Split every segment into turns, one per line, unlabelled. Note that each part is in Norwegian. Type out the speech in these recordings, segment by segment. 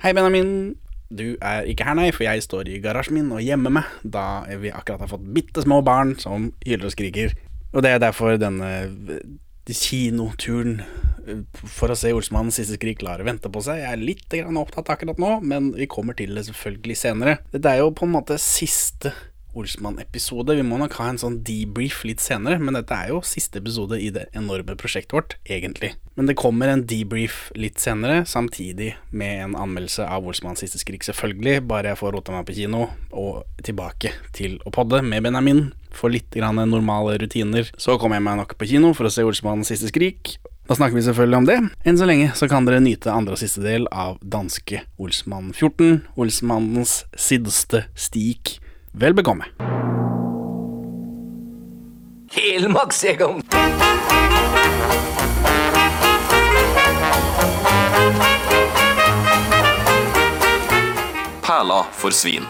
Hei, Benjamin. Du er ikke her, nei, for jeg står i garasjen min og gjemmer meg, da vi akkurat har fått bitte små barn som hyler og skriker. Og det er derfor denne eh, kinoturen eh, for å se Olsmannens siste skrik lar vente på seg. Jeg er litt grann opptatt akkurat nå, men vi kommer til det selvfølgelig senere. Dette er jo på en måte siste Olsmann-episode. Vi må nok ha en sånn debrief litt senere, men dette er jo siste episode i det enorme prosjektet vårt, egentlig. Men det kommer en debrief litt senere, samtidig med en anmeldelse av Olsmanns siste skrik, selvfølgelig, bare jeg får rota meg på kino, og tilbake til å podde med Benjamin. Får litt grann normale rutiner. Så kommer jeg meg nok på kino for å se Olsmannens siste skrik. Da snakker vi selvfølgelig om det. Enn så lenge så kan dere nyte andre og siste del av danske Olsmann 14, Olsmannens sidste stik. Vel bekomme.
Helmaksegom.
Perla for svin.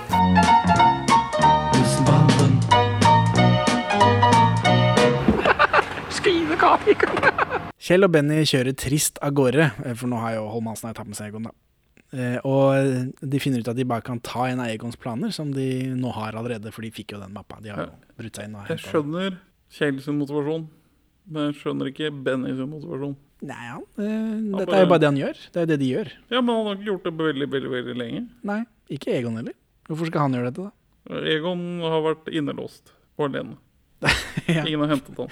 Kjell og Benny kjører trist av gårde, eh, for nå har jo Holm Hansen tatt med seg Egon, da. Eh, Og de finner ut at de bare kan ta en av Egons planer, som de nå har allerede, for de fikk jo den mappa. De har jo brutt seg inn og
Jeg
hentet den.
skjønner Kjell sin motivasjon, men jeg skjønner ikke Benny sin motivasjon.
Nei, ja. eh, Dette er jo bare det han gjør. Det er jo det de gjør.
Ja, men han har ikke gjort det på veldig, veldig, veldig lenge.
Nei, ikke Egon heller. Hvorfor skal han gjøre dette, da?
Egon har vært innelåst og alene.
Ja.
Ingen har hentet han.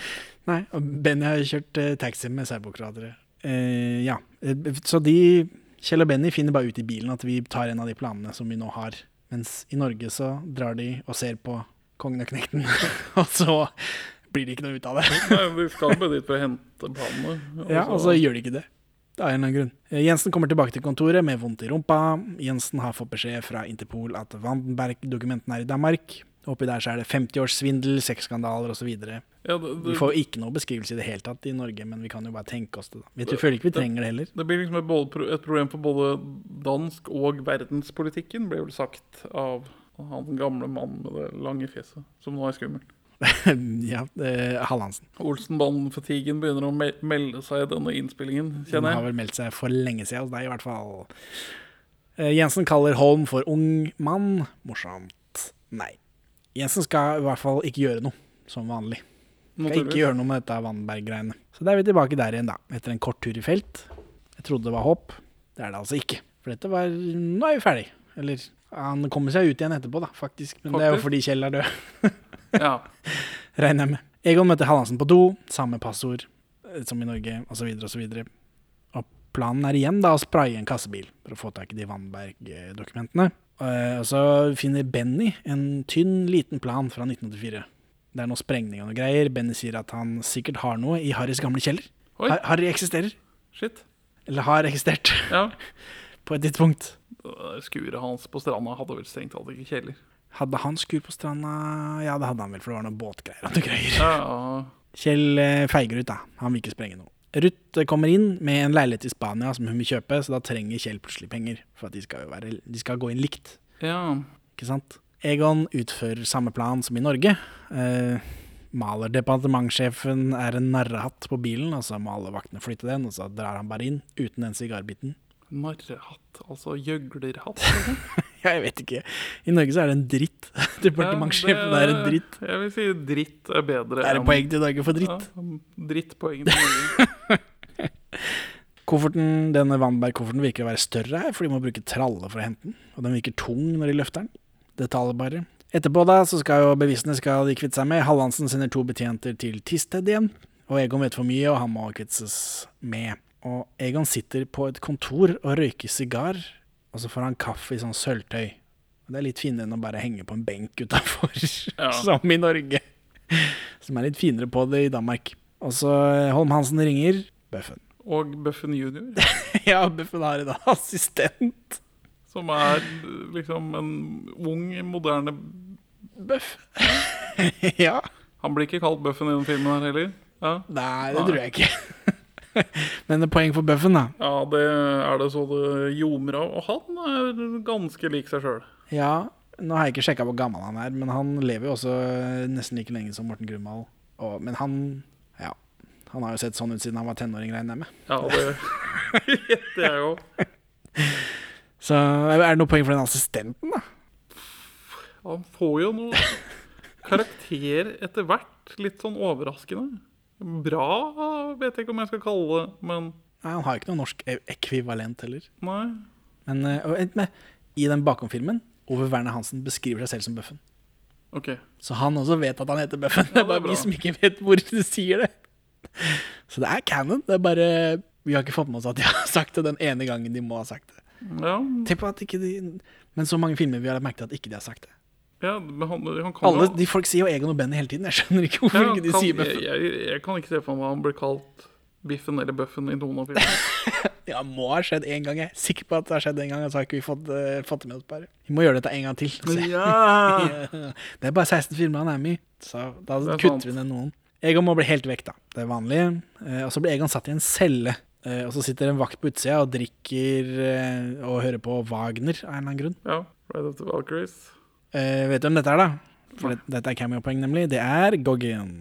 Nei, og Benny har kjørt eh, taxi med serbokradere. Eh, ja, Eh, så de, Kjell og Benny finner bare ut i bilen at vi tar en av de planene som vi nå har. Mens i Norge så drar de og ser på Kongen og Knekten, og så blir det ikke noe ut av det.
Nei, vi skal bare dit for å hente Altså, planene. og
Ja,
så-
Og så gjør de ikke det. Det er en eller annen grunn. Eh, Jensen kommer tilbake til kontoret med vondt i rumpa. Jensen har fått beskjed fra Interpol at Vandenberg-dokumentene er i Danmark. Oppi der så er det 50-årssvindel, sexskandaler osv.
ja, det,
Vi
det,
får jo ikke noe beskrivelse i det hele tatt i Norge, men vi kan jo bare tenke oss det. da. Vi tror- føler ikke vi trenger det heller.
det blir liksom et, både, pro- et problem for både dansk og verdenspolitikken, ble vel sagt av han gamle mannen med det lange fjeset, som nå er skummel.
ja, eh, Hallandsen.
Olsenbanden-fatigen begynner å me melde seg i denne innspillingen,
Hun
kjenner
har
jeg.
vel meldt seg for lenge siden hos deg, i hvert fall. Eh, Jensen kaller Holm for ung mann. Morsomt. Nei. Jensen skal i hvert fall ikke gjøre noe, som vanlig. Skal ikke
Naturligvis.
gjøre noe med dette Vandenberg-greiene. Så da er vi tilbake der igjen, da. Etter en kort tur i felt. Jeg trodde det var håp. Det er det altså ikke. For dette var Nå er vi ferdig. Eller han kommer seg ut igjen etterpå, da, faktisk. Men det er jo
Faktisk.
fordi Kjell er død.
Ja.
regner jeg med. Egon møter Hallandsen på do, samme passord eh, som i Norge, osv., osv. Og planen er igjen da å spraye en kassebil for å få tak i de Vandenberg-dokumentene. Eh, Og så finner Benny en tynn, liten plan fra 1984. Det er noe sprengning og noe greier. Benny sier at han sikkert har noe i Harrys gamle kjeller.
Oi.
Har- Harry eksisterer.
Shit.
Eller har eksistert,
Ja.
på et tidspunkt.
Øh, Skuret hans på stranda hadde vel strengt tatt ikke kjeller.
Hadde han skur på stranda? Ja, det hadde han vel, for det var noe båtgreier og noe greier.
Ja, ja.
Kjell eh, feiger ut, da. Han vil ikke sprenge noe. Ruth eh, kommer inn med en leilighet i Spania som hun vil kjøpe, så da trenger Kjell plutselig penger. For at de skal, jo være, de skal gå inn likt,
ja.
ikke sant? Egon utfører samme plan som i Norge. Eh, maler departementssjefen er en narrehatt på bilen, og så må alle vaktene flytte den, og så drar han bare inn uten den sigarbiten.
Narrehatt, altså gjøglerhatt. liksom.
Ja, jeg vet ikke. I Norge så er det en dritt. Departementssjefen
Ja,
er en dritt.
Jeg vil si dritt er bedre
Det er en poeng til Norge for dritt.
Ja, drittpoeng til Norge.
Kofferten, denne Vandenberg-kofferten virker å være større her, for de må bruke tralle for å hente den. Og den virker tung når de løfter den. Det taler bare. Etterpå da, så skal jo bevisene skal de kvitte seg med. Hallandsen sender to betjenter til Tisted igjen. Og Egon vet for mye, og han må kvittes med. Og Egon sitter på et kontor og røyker sigar, og så får han kaffe i sånn sølvtøy. Og Det er litt finere enn å bare henge på en benk utafor,
Ja.
som i Norge. Som er litt finere på det i Danmark. Og så eh, Holm-Hansen ringer. Bøffen.
Og Buffen jr.,
Ja, Buffen har en assistent.
som er liksom en ung, moderne
Buff. ja.
Han blir ikke kalt Buffen i den filmen her heller. Ja,
Nei, det
Nei.
tror jeg ikke. Men det er poeng for Buffen, da.
ja det er det så det ljomer av. Og han er ganske lik seg sjøl.
Ja, nå har jeg ikke sjekka hvor gammel han er, men han lever jo også eh, nesten like lenge som Morten Grumald. Og, men han ja, han har jo sett sånn ut siden han var tenåring, regner jeg med.
Ja, det gjetter jeg jo.
Så er det noe poeng for den assistenten, da?
Han får jo noe karakter etter hvert. Litt sånn overraskende. Bra vet jeg ikke om jeg skal kalle det, men
Nei, Han har ikke noe norsk e- ekvivalent heller.
nei.
Men eh, og vent med, i den bakom-filmen, Ove Werner Hansen beskriver seg selv som Bøffen.
OK.
Så han også vet at han heter Bøffen. Det er bare
bra.
vi som ikke vet hvor du sier det. Så det er canon. Det er bare Vi har ikke fått med oss at de har sagt det den ene gangen de må ha sagt det.
Ja,
Tenk på at ikke de Men så mange filmer vi har merket at ikke de har sagt det.
ja men han, han kan
Alle
jo-
de Folk sier jo Egon og Benny hele tiden. Jeg skjønner ikke hvorfor
Ja,
ikke de
kan,
sier Bøffen.
jeg, jeg, jeg kan ikke se for meg han blir kalt Biffen eller Bøffen i noen av filmene.
Ja, må ha skjedd én gang. Jeg er sikker på at det har skjedd en gang. Så har ikke vi fått, eh, fått det med oss bare. Vi må gjøre dette en gang til. og se.
Ja.
Det er bare 16 filmer han er med i, så da
Det er sant.
kutter vi ned noen. Egon må bli helt vekk, da. Det er vanlig. Eh, og så blir Egon satt i en celle. Eh, og så sitter en vakt på utsida og drikker eh, og hører på Wagner av en eller annen grunn.
ja. Ride of the Valkyries.
Eh, vet du hvem dette er, da? For det, dette er cameo-poeng, nemlig. Det er Goggen.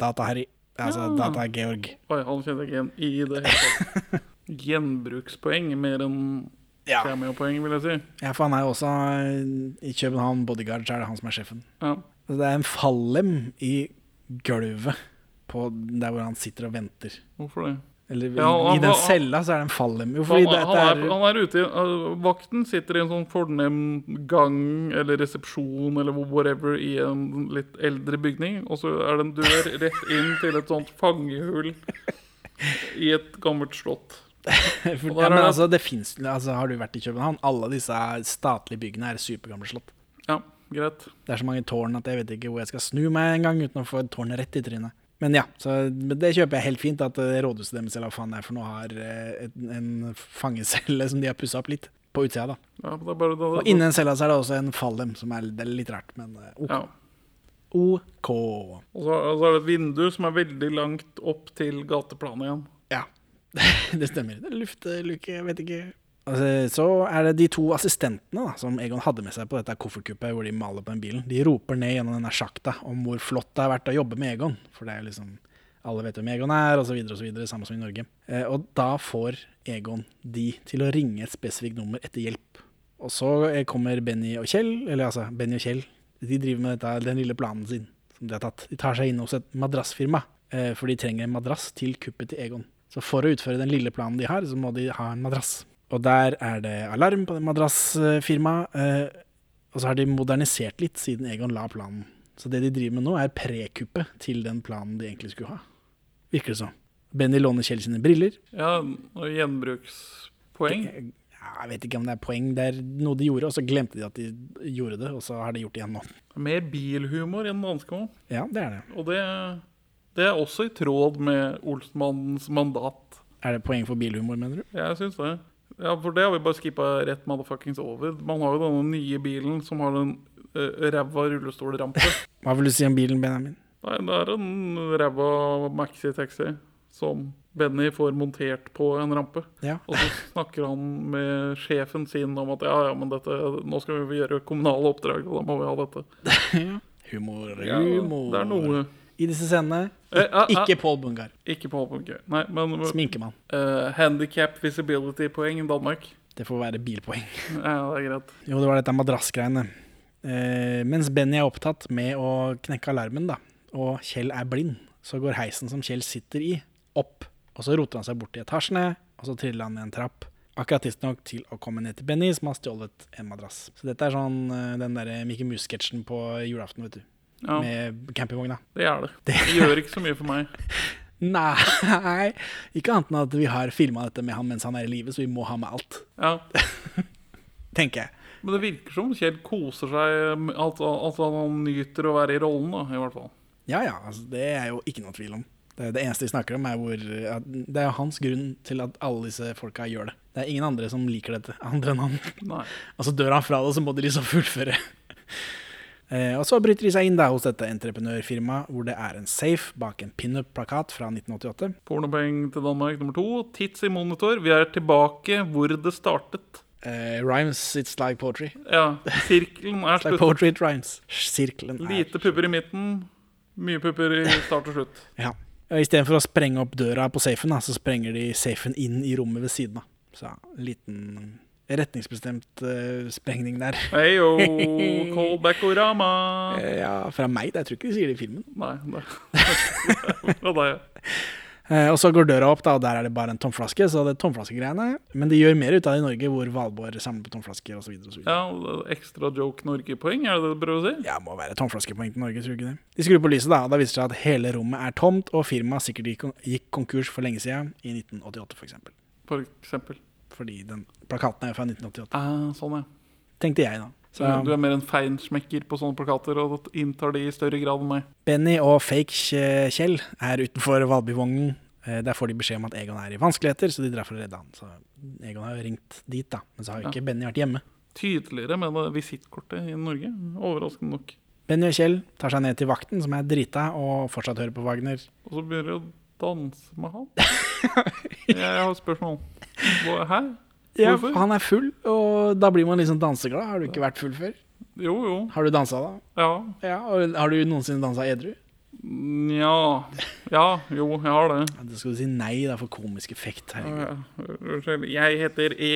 Data-Harry. Altså
Ja.
Data-Georg.
Oi, han kjenner jeg ikke igjen i det hele tatt. Gjenbrukspoeng mer enn
Ja.
cameo-poeng, vil jeg si.
ja, for han er jo også eh, i København bodyguard, så er det han som er sjefen.
Ja.
Så Det er en fallem i gulvet på der hvor han sitter og venter.
Hvorfor det?
Eller i-
Ja, han-
i den
han-
cella så er det en fallem. Jo, fordi
Han,
det,
han, er,
det er,
han er ute i øh, Vakten sitter i en sånn fornem gang eller resepsjon eller whatever i en litt eldre bygning, og så er det en dør rett inn til et sånt fangehull i et gammelt slott.
for,
og der
ja, men
er det-
altså, det finnes, altså, Har du vært i København? Alle disse statlige byggene er supergamle slott.
Ja, greit.
Det er så mange tårn at jeg vet ikke hvor jeg skal snu meg engang uten å få et tårn rett i trynet. Men ja, så men det kjøper jeg helt fint, at eh, rådhuset deres eller hva faen det er for noe, har eh, et, en fangecelle som de har pussa opp litt, på utsida, da.
Ja, men det er bare det,
Og inni den cella så er det også en fallem, som er, det er litt rart, men eh,
ja.
OK. OK.
Og så, og så er det et vindu som er veldig langt opp til gateplanet igjen.
Ja, det stemmer. Det er Luftluke, jeg vet ikke. Altså, så er det de to assistentene da, som Egon hadde med seg på dette koffertkuppet hvor de maler på den bilen. De roper ned gjennom denne sjakta om hvor flott det har vært å jobbe med Egon. For det er jo liksom Alle vet hvem Egon er, osv., osv. Samme som i Norge. Eh, og da får Egon de til å ringe et spesifikt nummer etter hjelp. Og så eh, kommer Benny og Kjell, eller altså Benny og Kjell, de driver med dette, den lille planen sin som de har tatt. De tar seg inn hos et madrassfirma, eh, for de trenger en madrass til kuppet til Egon. Så for å utføre den lille planen de har, så må de ha en madrass. Og der er det alarm på det madrassfirmaet, eh, og så har de modernisert litt siden Egon la planen. Så det de driver med nå, er prekuppet til den planen de egentlig skulle ha. Virker det som. Benny låner Kjell sine briller.
Ja, og gjenbrukspoeng.
Jeg, jeg vet ikke om det er poeng. Det er noe de gjorde, og så glemte de at de gjorde det, og så har de gjort det igjen nå.
Mer bilhumor enn danskmål.
Ja, det er det.
Og det, det er også i tråd med Olsmannens mandat.
Er det poeng for bilhumor, mener du?
Jeg syns det. Ja, For det har vi bare skippa rett motherfuckings over. Man har jo denne nye bilen som har en uh, ræva rullestolrampe.
Hva vil du si om bilen, Benjamin?
Nei, det er en ræva maxi-taxi som Benny får montert på en rampe.
Ja.
Og så snakker han med sjefen sin om at ja, ja, men dette, nå skal vi gjøre kommunale oppdrag, og da må vi ha dette.
Humor,
Ja,
humor.
Det er noe
I disse scenene,
Eh, ah, ah.
ikke Paul Bungar.
Ikke på håpen, Nei, men
Sminkemann.
uh, handicap visibility-poeng i Danmark.
Det får være bilpoeng.
Ja, det er greit.
Jo, det var dette madrassgreiene. Eh, mens Benny er opptatt med å knekke alarmen, da, og Kjell er blind, så går heisen som Kjell sitter i, opp. Og så roter han seg bort i etasjene, og så triller han i en trapp. Akkurat tidsnok til å komme ned til Benny, som har stjålet en madrass. Så dette er sånn eh, den derre Mickey Mouse-sketsjen på julaften, vet du.
Ja,
Med campingvogna.
det er det. Det gjør ikke så mye for meg.
Nei, ikke annet enn at vi har filma dette med han mens han er i live, så vi må ha med alt,
Ja.
tenker jeg.
Men det virker som Kjell koser seg med- Altså, altså han nyter å være i rollen, da, i hvert fall.
Ja ja, altså, det er jo ikke noe tvil om. Det, det eneste vi snakker om, er hvor at Det er jo hans grunn til at alle disse folka gjør det. Det er ingen andre som liker dette, andre enn han.
Nei.
Og så dør han fra det, og så må de liksom fullføre. Eh, og så bryter de seg inn da hos dette entreprenørfirmaet, hvor det er en safe bak en pinup-plakat fra 1988.
Pornopoeng til Danmark nummer to. Tits i monitor. Vi er tilbake hvor det startet.
Eh, rhymes, it's like poetry.
Ja, sirkelen er
It's like
slutt.
poetry, it rhymes. Sirkelen er
Lite pupper i midten, mye pupper i start og slutt.
Ja. Og Istedenfor å sprenge opp døra på safen, da, så sprenger de safen inn i rommet ved siden av. Så liten retningsbestemt eh, sprengning der.
Heyo, Callback-orama!
Eh, Ja, fra meg. da. Jeg tror ikke de sier det i filmen.
Nei, det Ja, det er
Eh, og så går døra opp, da, og der er det bare en tomflaske. Så det er tomflaskegreiene Men de gjør mer ut av det i Norge, hvor Valborg samler på tomflasker osv.
ja, ekstra joke Norge-poeng, er det det du prøver å si?
Ja, må være tomflaskepoeng til Norge, tror du ikke det? De skrur på lyset, da, og da viser det seg at hele rommet er tomt, og firmaet sikkert gikk, gikk konkurs for lenge siden, i 1988 f.eks. For eksempel.
For eksempel.
Fordi den plakaten er fra 1988,
Ah, sånn, ja.
tenkte jeg da.
Så
Så
du er mer en feinsmekker på sånne plakater og inntar de i større grad enn meg.
Benny og fake Kj- Kjell er utenfor Valbyvognen. Eh, Der får de beskjed om at Egon er i vanskeligheter, så de drar for å redde han. Så Egon har jo ringt dit, da, men så har jo ikke Benny vært hjemme.
Tydeligere med det visittkortet i Norge, overraskende nok.
Benny og Kjell tar seg ned til vakten, som er drita og fortsatt hører på Wagner.
Og så begynner de å danse med han. Jeg har et spørsmål. Hva- Hæ?
Ja,
Hvorfor?
han er full, og da blir man liksom danseglad. Har du ikke vært full før?
Jo, jo.
Har du dansa da?
Ja.
Ja, og Har du noensinne dansa edru?
Nja. Ja, jo, jeg har det.
Ja, det skal du si nei, da, for komisk effekt. Herregud.
Ja, Unnskyld. Jeg heter E.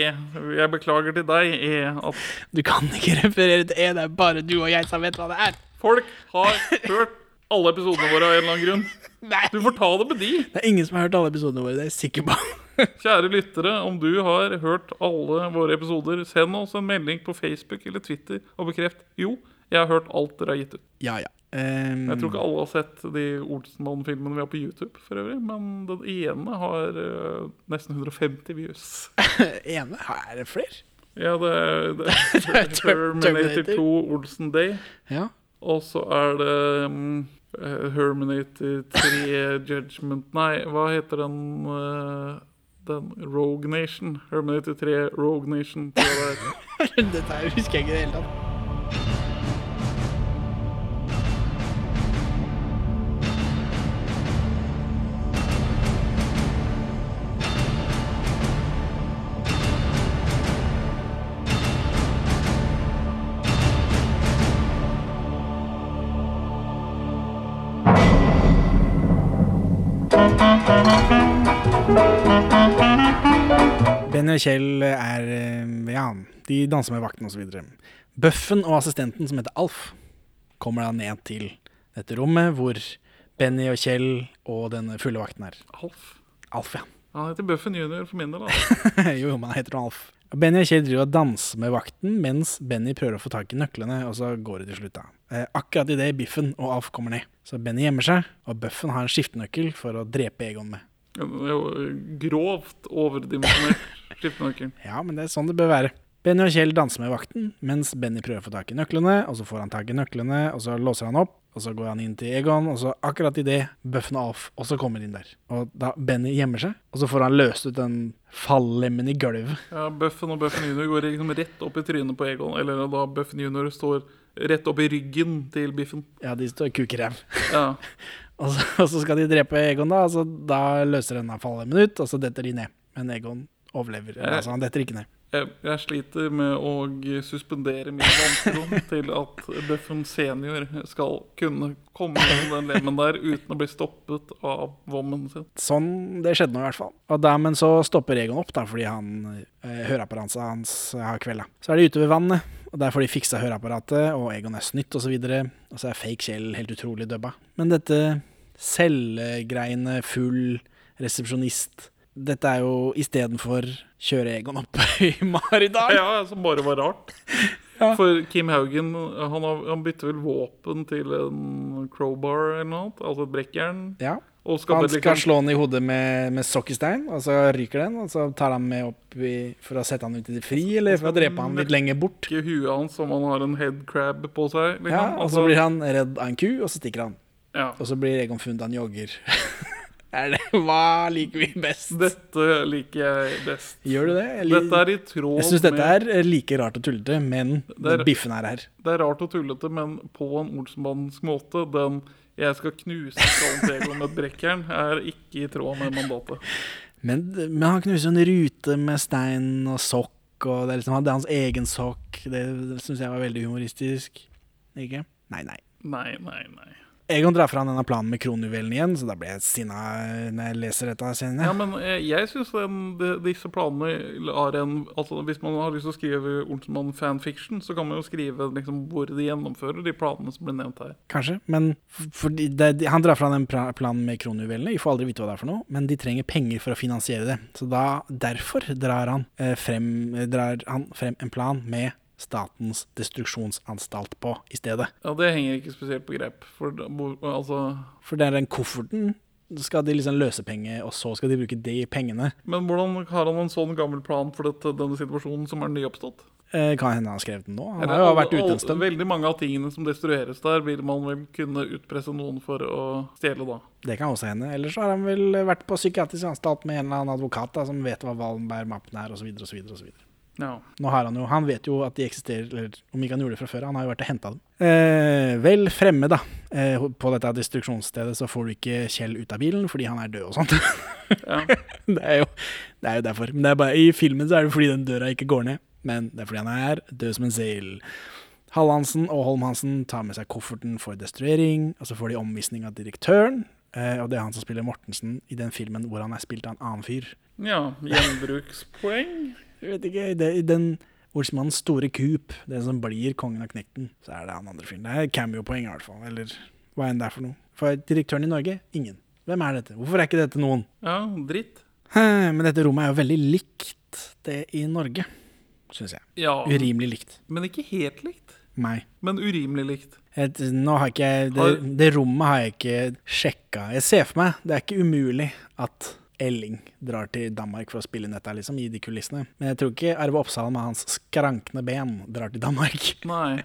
Jeg beklager til deg, E, at
Du kan ikke referere til E, det er bare du og jeg som vet hva det er.
folk har hørt alle episodene våre av en eller annen grunn.
Nei.
Du får ta det med de.
Det er ingen som har hørt alle episodene våre, det er jeg sikker på.
Kjære lyttere, om du har hørt alle våre episoder, send oss en melding på Facebook eller Twitter og bekreft jo, jeg har hørt alt dere har gitt ut.
Ja, ja. Ehm,
Jeg tror ikke alle har sett de Olsenmann-filmene vi har på YouTube, for øvrig, men den ene har eh, nesten 150 views.
ene? Er det flere?
Ja, det er, det er
er Terminator.
Terminator 2 Olsen Day.
Ja.
Og så er det mm, eh, Herminator 3 Judgment Nei, hva heter den eh, Den Rogue Nation? Herminator 3 Rogue Nation. tror jeg det er.
Dette her husker jeg ikke i det hele tatt. Benny og Kjell er eh, Ja, de danser med vakten osv. Bøffen og assistenten, som heter Alf, kommer da ned til dette rommet hvor Benny og Kjell og den fulle vakten er.
Alf.
Alf, ja.
Han heter Buffen Junior for min del. da.
jo, jo, men han heter jo Alf. Benny og Kjell driver og danser med vakten mens Benny prøver å få tak i nøklene, og så går det til slutt, da. Eh, akkurat idet Biffen og Alf kommer ned. Så Benny gjemmer seg, og Bøffen har en skiftenøkkel for å drepe Egon med.
Det er jo Grovt overdimensjonert skiftenøkkel.
Ja, men det er sånn det bør være. Benny og Kjell danser med vakten, mens Benny prøver å få tak i nøklene, og så får han tak i nøklene, og så låser han opp, og så går han inn til Egon, og så akkurat idet Bøffen og Alf også kommer inn der. Og da Benny gjemmer seg, og så får han løst ut den fallemmen i gulvet.
Ja, Buffen og Buffen Junior går liksom rett opp i trynet på Egon. Eller da Buffen Junior står rett opp i ryggen til Biffen.
Ja, de står kukeræv.
Ja.
Og så, og så skal de drepe Egon, da, og så da løser denne fallemmen ut, og så detter de ned. Men Egon overlever. Eller, Altså, han detter ikke ned.
Jeg, jeg sliter med å suspendere min vantro til at Buffen senior skal kunne komme gjennom den lemmen der uten å bli stoppet av vommen sin.
Sånn, det skjedde nå i hvert fall. Og da, men så stopper Egon opp, da, fordi han eh, høreapparatet hans eh, har kvelda. Så er de ute ved vannet, og der får de fiksa høreapparatet, og Egon er snytt osv. Og, så og så er fake Kjell helt utrolig dubba. Men dette cellegreiene, full resepsjonist Dette er jo istedenfor kjøre Egon opp i Maridal.
Ja, som bare var rart.
Ja.
For Kim Haugen han, har, han bytter vel våpen til en crowbar eller noe annet, altså et brekkjern.
Ja.
Og skal liksom
Han
bare
skal slå han i hodet med, med sokkestein, og så ryker den. Og så tar han med opp i, for å sette han ut i det fri, eller for å drepe han litt lenger bort.
ikke huet hans som han har en headcrab på seg. Liksom.
Ja, altså og så blir han redd av en ku, og så stikker han.
ja.
Og så blir Egon funnet av en jogger. er det, hva liker vi best?
Dette liker jeg best.
Gjør du det? Jeg lik-
Dette er i tråd
jeg syns dette
med
er like rart og tullete, men
Det er-
biffen er her.
Det er rart og tullete, men på en Olsenbandens måte Den 'jeg skal knuse skallen til Egon med et brekkjern' er ikke i tråd med mandatet.
Men, men han knuser en sånn rute med stein og sokk, og det er, liksom, det er hans egen sokk. Det syns jeg var veldig humoristisk. Ikke? Nei, nei.
Nei, nei, nei.
Egon drar fra denne planen med kronjuvelen igjen, så da blir jeg sinna når jeg leser dette. Senere.
Ja, men eh, jeg syns disse planene har en Altså Hvis man har lyst til å skrive Olsenmann fanfiction, så kan man jo skrive liksom, hvor de gjennomfører de planene som ble nevnt her.
Kanskje, men f- fordi det, han drar fra den pra- planen med kronjuvelene, vi får aldri vite hva det er for noe, men de trenger penger for å finansiere det. Så da, derfor drar han, eh, frem, eh, drar han frem en plan med Statens destruksjonsanstalt på i stedet.
Ja, Det henger ikke spesielt på grep. For da- hvor- altså
For det er den kofferten skal de liksom løse penger, og så skal de bruke de pengene.
Men hvordan har han en sånn gammel plan for dette, denne situasjonen som er nyoppstått?
Eh, kan hende han har skrevet den nå. Han
Eller
har jo
alle-
vært ute en
alle-
stund.
Veldig mange av tingene som destrueres der, vil man vel kunne utpresse noen for å stjele, da.
Det kan også hende. Eller så har han vel vært på psykiatrisk anstalt med en eller annen advokat da, som vet hva Wallenberg-mappen er, osv., osv., osv.
Ja.
Nå har han jo, han vet jo at de eksisterer, eller om ikke han gjorde det fra før, han har jo vært og henta dem. Eh, vel fremme, da, eh, på dette destruksjonsstedet, så får du ikke Kjell ut av bilen fordi han er død og sånt.
Ja.
det, er jo, det er jo derfor. Men det er bare, i filmen så er det fordi den døra ikke går ned, men det er fordi han er død som en seil. Hallandsen og Holm-Hansen tar med seg kofferten for destruering, og så får de omvisning av direktøren. Eh, og det er han som spiller Mortensen i den filmen hvor han er spilt av en annen fyr.
ja. Gjenbrukspoeng?
Jeg vet ikke, det, i den Olsmannens store kup, det som blir kongen av knekten, så er det han andre fyren. Det er cameo-poeng i hvert fall, eller hva enn det er for noe. For direktøren i Norge, ingen. Hvem er dette? Hvorfor er ikke dette noen?
Ja, dritt.
Hæ, Men dette rommet er jo veldig likt det i Norge, syns jeg.
Ja,
Urimelig likt.
men ikke helt likt.
Meg.
Men urimelig likt.
Et, nå har ikke jeg det,
Har-
det rommet har jeg ikke sjekka. Jeg ser for meg, det er ikke umulig at Elling drar til Danmark for å spille inn dette, liksom, i de kulissene. Men jeg tror ikke Arve Oppsal med hans skrankne ben drar til Danmark.
Nei.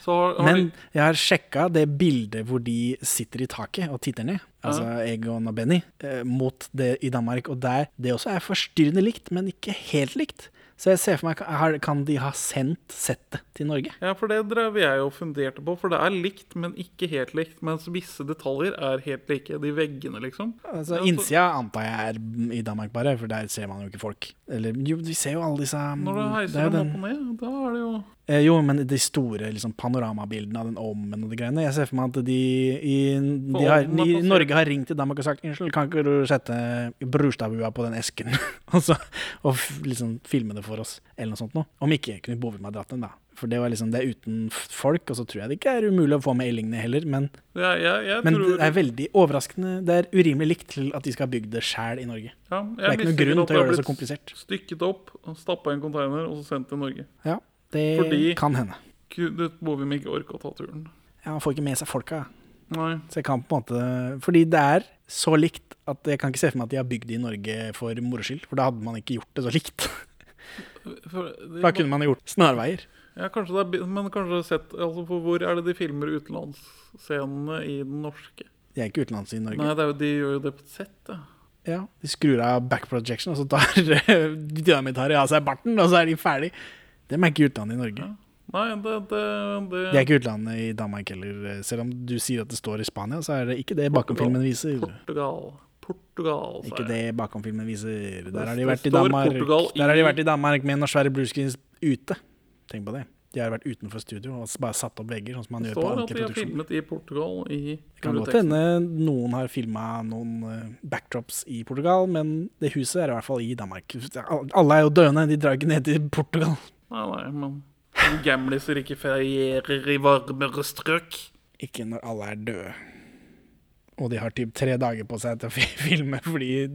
Så har, har
Men
de,
jeg har sjekka det bildet hvor de sitter i taket og titter ned, altså Egon og Benny, eh, mot det i Danmark. Og der det også er forstyrrende likt, men ikke helt likt. Så jeg ser for meg, har- kan de ha sendt settet til Norge?
ja, for det drev jeg og funderte på, for det er likt, men ikke helt likt. Mens visse detaljer er helt like. De veggene, liksom.
Altså
Ja, for-
Innsida antar jeg er mm, i Danmark, bare, for der ser man jo ikke folk. Eller jo, vi ser jo alle disse mm,
Når du
det er
heiser
jo
dem
den-
opp og ned, da er det jo
Eh, jo, men de store liksom, panoramabildene av den ommen og de greiene. Jeg ser for meg at de i, de har,
ovnen er
i
plassert.
Norge har ringt til Danmark og sagt Unnskyld, kan ikke du sette brustabua på den esken? og så, og f- liksom filme det for oss, eller noe sånt noe. Om ikke Knut Bovim har dratt den, da. For det var liksom det er uten f- folk, og så tror jeg det ikke er umulig å få med Ellingene heller. Men,
Jeg, jeg, jeg
men
tror
det er veldig overraskende. Det er urimelig likt til at de skal ha bygd det sjæl i Norge.
ja,
Det er ikke noen
jeg visste
grunn til
at
å
har
gjøre det så
blitt
komplisert.
Stykket opp, stappa i en container og så sendt til Norge.
Ja, det
Fordi-
kan hende.
Knut Bovim ikke orka å ta turen.
Ja, han får ikke med seg folka.
Nei.
Så jeg kan på en måte Fordi det er så likt at jeg kan ikke se for meg at de har bygd det i Norge for moro skyld. For da hadde man ikke gjort det så likt.
For,
Da kunne man gjort snarveier.
ja, kanskje det er, bi- men kanskje sett altså, for Hvor er det de filmer utenlandsscenene i den norske?
De er ikke utenlands i Norge.
Nei, det er jo, de gjør jo det på et sett, ja.
Ja, De skrur av back projection, og så tar dynamitharet av seg barten, og så er de ferdig. Dem er ikke utlandet i Norge.
Nei, det, det, det
De er ikke utlandet i Danmark heller. Selv om du sier at det står i Spania, så er det ikke det bakomfilmen viser.
Portugal. Portugal, sa
Ikke
jeg.
det bakomfilmen viser. Der har
Det
de vært i
står
Danmark
Portugal i-
Der har de vært i Danmark med noen svære bluescreens ute. Tenk på det. De har vært utenfor studio og s- bare satt opp vegger, sånn som man
Det
gjør på
står at de
ordentlige
har
produksjoner.
filmet i Portugal i
Det kan godt
rulleteksten.
hende noen har filma noen eh, backdrops i Portugal, men det huset er i hvert fall i Danmark. Al- Alle er jo døende, de drar ikke ned til Portugal.
Nei, nei, men Gamliser ikke ferierer i varmere strøk.
Ikke når alle er døde. Og de har typ tre dager på seg til å fi- filme, fordi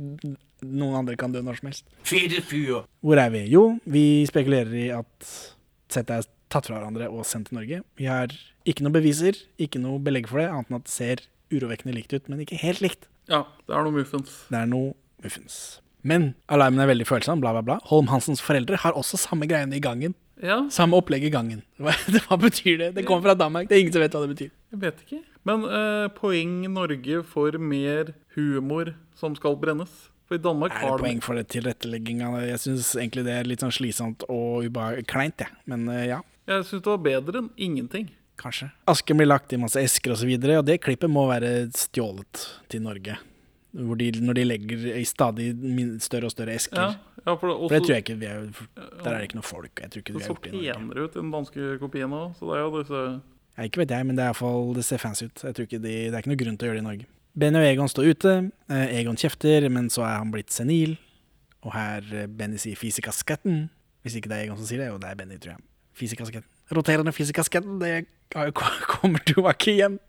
noen andre kan dø når som helst.
Fede fyr.
Hvor er vi? Jo, vi spekulerer i at settet er tatt fra hverandre og sendt til Norge. Vi har ikke noen beviser, ikke noe belegg for det, annet enn at det ser urovekkende likt ut, men ikke helt likt.
Ja, det er noe muffens.
Det er noe muffens. Men alarmen er veldig følsom, bla, bla, bla. Holm-Hansens foreldre har også samme greiene i gangen.
Ja,
Samme opplegg i gangen. Hva, hva betyr det? Det kommer fra Danmark, det er ingen som vet hva det betyr.
jeg vet ikke. Men eh, poeng Norge for mer humor som skal brennes. For i Danmark
Er det
har de
poeng for det tilrettelegginga? Jeg syns egentlig det er litt sånn slitsomt og ubeha- kleint, jeg. Men eh, ja.
Jeg syns det var bedre enn ingenting.
Kanskje. Asken blir lagt i masse esker osv., og, så videre, og det klippet må være stjålet til Norge. Hvor de, når de legger i stadig min- større og større esker.
Ja, ja for det,
For det tror
også,
jeg ikke vi er, for der er det ikke noe folk. og Jeg tror ikke vi
det
har
så
gjort det i Norge.
penere ut i den danske kopien òg, så det er jo disse
Ja, ikke vet jeg, men det, er i hvert fall, det ser fancy ut. Jeg tror ikke de, Det er ikke noe grunn til å gjøre det i Norge. Benny og Egon står ute. Eh, Egon kjefter, men så er han blitt senil. Og her eh, Benny sier 'fisikasketten'. Hvis ikke det er Egon som sier det, jo det er Benny, tror jeg. Fisikasketten. Roterende fisikasketten, det har jo ko- kommer tilbake igjen.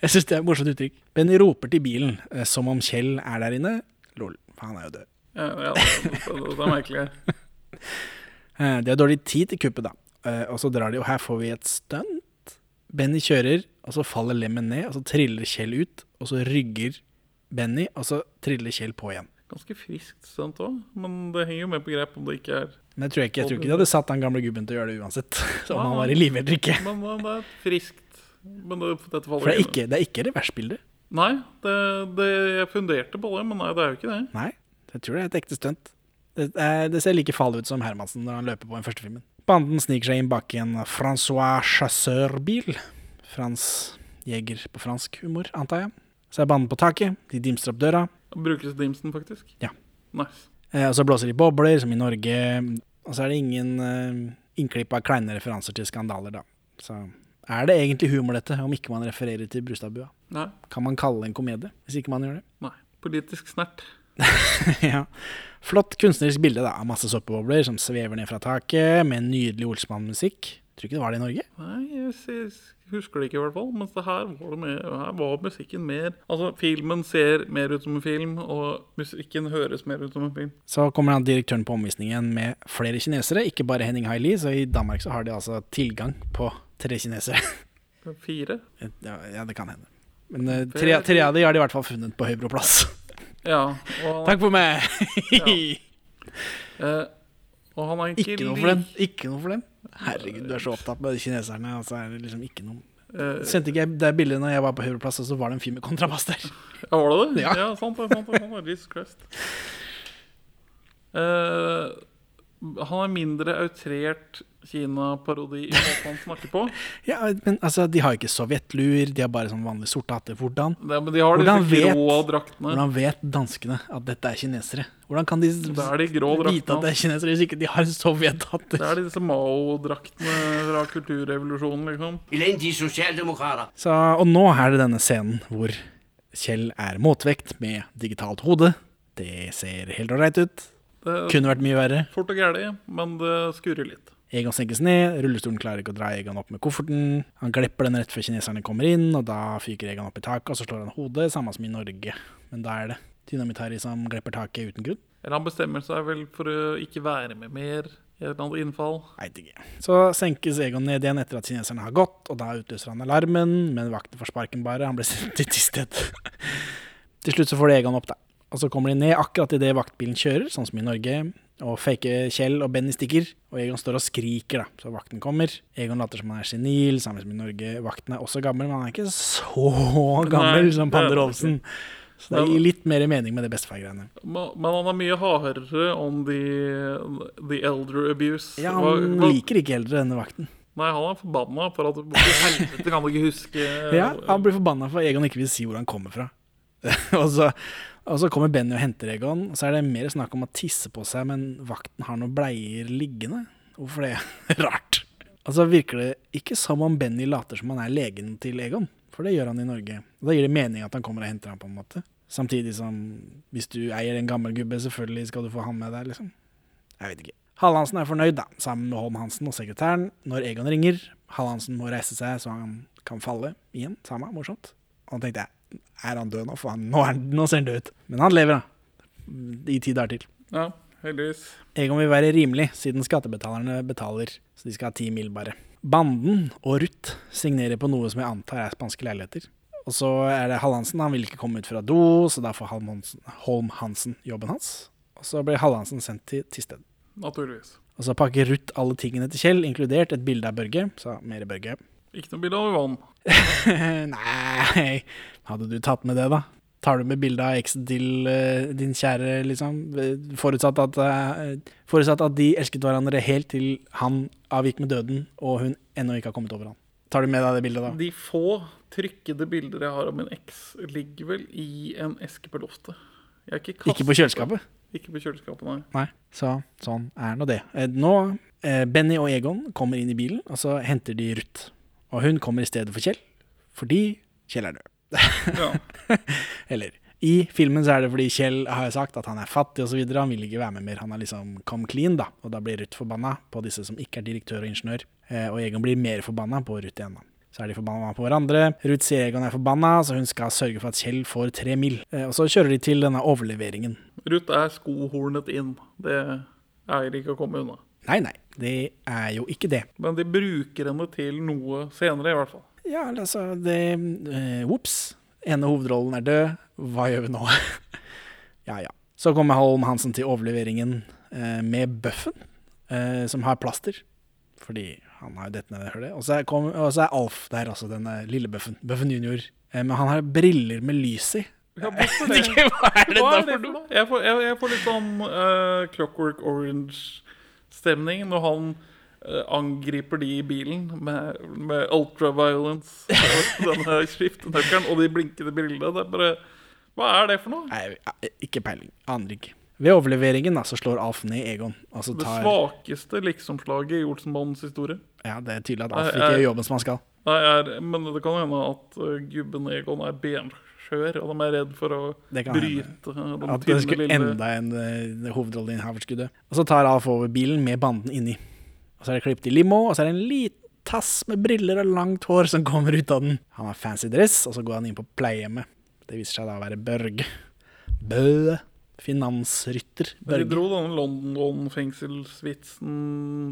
Jeg syns det er et morsomt uttrykk. Benny roper til bilen, eh, som om Kjell er der inne. Lol, for han er jo død.
Ja, ja, det, det, det er merkelig.
Eh, De har dårlig tid til kuppet, da. Eh, Og så drar de, og her får vi et stunt. Benny kjører, og så faller lemmen ned, og så triller Kjell ut, og så rygger Benny, og så triller Kjell på igjen.
Ganske friskt stunt òg, men det henger jo med på grep om det ikke er
Men jeg tror ikke, jeg tror ikke de hadde satt han gamle gubben til å gjøre det uansett. så Om han var i live eller ikke.
Men eh, det er friskt. Men det, dette faller
For det er
inn.
ikke, det er ikke reversbildet.
Nei, det, det, jeg funderte på det, men nei, det er jo ikke det.
Nei, jeg tror det er et ekte stunt. Det, er, det ser like farlig ut som Hermansen når han løper på den første filmen. Banden sniker seg inn bak i en Francois Chasseur-bil. Frans jeger på fransk humor, antar jeg. Så er banden på taket, de dimser opp døra,
Brukes dimsen, faktisk?
Ja.
Nice.
eh, og så blåser de bobler, som i Norge. Og så er det ingen eh, innklipp av kleine referanser til skandaler, da. Så er det egentlig humor, dette, om ikke man refererer til Brustadbua?
Nei.
Kan man kalle det en komedie, hvis ikke man gjør det?
nei. Politisk snert.
ja. Flott kunstnerisk bilde da, av masse såpebobler som svever ned fra taket, med nydelig Olsmann-musikk. Tror ikke det var det i Norge.
Nei, jeg s- jeg s- husker det ikke i hvert fall. Mens det her var, det mer, her var musikken mer Altså, filmen ser mer ut som en film, og musikken høres mer ut som en film.
Så kommer han direktøren på omvisningen med flere kinesere, ikke bare Henning Haili, så i Danmark så har de altså tilgang på tre kinesere.
Fire?
ja, ja, det kan hende. Men eh, tre, tre av de har de i hvert fall funnet på Høybro plass.
Ja. Og han,
Takk for meg!
eh, og han er ikke,
ikke noe for dem. Ikke noe for dem. Herregud, du er så opptatt med kineserne, og så er det liksom ikke noe
Eh,
Sendte ikke jeg det bildet når jeg var på Høybro plass, og så var det en fyr med kontrabass der?
Ja, var det det?
Ja.
Ja, sant det. sant det, sant det. Jesus Christ. Eh, han er mindre outrert Kina-parodi i måten han snakker på.
Ja, men altså, De har jo ikke sovjetluer, de har bare sånn vanlige sorte hatter. Hvordan,
Det, men de har
Hvordan
disse grå
vet-
draktene.
hvordan vet danskene at dette er kinesere? Hvordan kan de s-
Det er de grå
vite at det
draktene.
er kinesere hvis ikke de har
Det
sovjethatter?
er disse Mao-draktene fra kulturrevolusjonen, liksom.
Elendige sosialdemokrater.
Så, og nå er det denne scenen hvor Kjell er motvekt med digitalt hode. Det ser helt ålreit ut.
Det er
Kunne vært mye verre.
fort og gæli, men det skurrer litt.
Egon senkes ned, rullestolen klarer ikke å dra Egon opp med kofferten. Han glipper den rett før kineserne kommer inn, og da fyker Egon opp i taket, og så slår han hodet, samme som i Norge. Men da er det Dynamitt-Harry som glipper taket uten grunn.
Eller han bestemmer seg vel for å ikke være med mer i et eller annet innfall.
Veit ikke. Så senkes Egon ned igjen etter at kineserne har gått, og da utløser han alarmen, men vakten får sparken bare, han blir sendt til tisthet. til slutt så får de Egon opp, da. Og så kommer de ned akkurat idet vaktbilen kjører, sånn som i Norge, og fake Kjell og Benny stikker, og Egon står og skriker, da, så vakten kommer. Egon later som han er senil, samme som i Norge. Vakten er også gammel, men han er ikke så gammel
Nei,
som
det er han
Pander Olsen. Så det gir litt mer mening med det bestefar-greiene.
Men men han er mye hardere om the, the elder abuse.
Ja,
Hva-
han
hva-
liker ikke eldre denne vakten.
Nei, han er forbanna for at Hvorfor i helvete kan du ikke huske
Ja, han blir forbanna for at Egon ikke vil si hvor han kommer fra. og, så, og så kommer Benny og henter Egon, og så er det mer snakk om å tisse på seg, men vakten har noen bleier liggende. Hvorfor det? Rart. Og så virker det ikke som om Benny later som han er legen til Egon, for det gjør han i Norge. Og da gir det mening at han kommer og henter ham, på en måte. Samtidig som hvis du eier en gammel gubbe, selvfølgelig skal du få han med deg, liksom. Jeg vet ikke. Hallandsen er fornøyd, da, sammen med Holm-Hansen og sekretæren, når Egon ringer. Hallandsen må reise seg så han kan falle igjen. Samme, morsomt. Og da tenkte jeg, er han død nå? For han, nå, er, han- nå ser han død ut. Men han lever, da. I ti dager til.
Ja, heldigvis.
Egon vil være rimelig, siden skattebetalerne betaler, så de skal ha ti mil bare. Banden og Ruth signerer på noe som jeg antar er spanske leiligheter. Og så er det Hallandsen, han vil ikke komme ut fra do, så da får Halmonsen- Holm-Hansen jobben hans. Og så blir Hallandsen sendt til Tisted.
Naturligvis.
Og så pakker Ruth alle tingene til Kjell, inkludert et bilde av Børge. Så mer Børge.
Ikke noe bilde av Yvonne.
Nei, hadde du tatt med det, da? Tar du med bilde av eksen til eh, din kjære, liksom? Eh, Forutsatt at, eh, forutsatt at de elsket hverandre helt til han avgikk med døden, og hun ennå ikke har kommet over han. Tar du med deg det bildet, da?
De få trykkede bilder jeg har av min eks, ligger vel i en eske på loftet. Jeg er ikke, kastet-
Ikke på kjøleskapet?
Ikke på kjøleskapet, nei.
Nei. Så sånn er nå det. Eh, Nå eh, Benny og Egon kommer inn i bilen, og så henter de Ruth. Og hun kommer i stedet for Kjell, fordi Kjell er død.
Ja.
Eller I filmen så er det fordi Kjell har jo sagt at han er fattig osv. Han vil ikke være med mer. Han har liksom come clean, da. Og da blir Ruth forbanna på disse som ikke er direktør og ingeniør. Eh, Og Egon blir mer forbanna på Ruth igjen. da. Så er de forbanna på hverandre. Ruth sier Egon er forbanna, så hun skal sørge for at Kjell får tre mil. Eh, Og så kjører de til denne overleveringen.
Ruth er skohornet inn. Det er ikke å komme unna.
Nei, nei, det er jo ikke det.
Men de bruker henne til noe senere, i hvert fall.
Ja, eller altså det eh, Ops. Ene hovedrollen er død. Hva gjør vi nå? ja, ja. Så kommer Holm Hansen til overleveringen eh, med bøffen, eh, som har plaster. Fordi han har jo dette nede, hører det. Og så er, kom, og så er Alf der, altså. Denne lille bøffen. Bøffen junior. Eh, men han har briller med lys i.
Ja, hvorfor det?
Ikke, Hva er det
Hva
da
er
for
det for
noe?
noe? Jeg får, jeg, jeg får litt sånn eh, Clockwork Orange-stemning når han eh, angriper de i bilen med, med ultraviolence og denne skiftenøkkelen og de blinkende brillene. Det er bare Hva er det for noe?
Nei, eh, ikke peiling. Aner ikke. Ved overleveringen da, så slår Alf ned Egon. Og så
Det
tar,
svakeste liksomslaget i Olsenbandens historie.
ja, det er tydelig at Alf
Nei,
ikke
eh,
gjør jobben som han skal.
Nei, er, men det kan hende at eh, gubben Egon er benskjør, og de er redd for å
Det kan hende.
bryte eh, den
At det
tynne
skulle
lille
enda en uh, hovedrolleinnehaver skulle dø. Og så tar Alf over bilen med banden inni. Og så er det klippet i limo, og så er det en liten tass med briller og langt hår som kommer ut av den. Han har fancy dress, og så går han inn på pleiehjemmet. Det viser seg da å være Børge. Bø. Finansrytter
Men De
Børge.
dro denne London-fengselsvitsen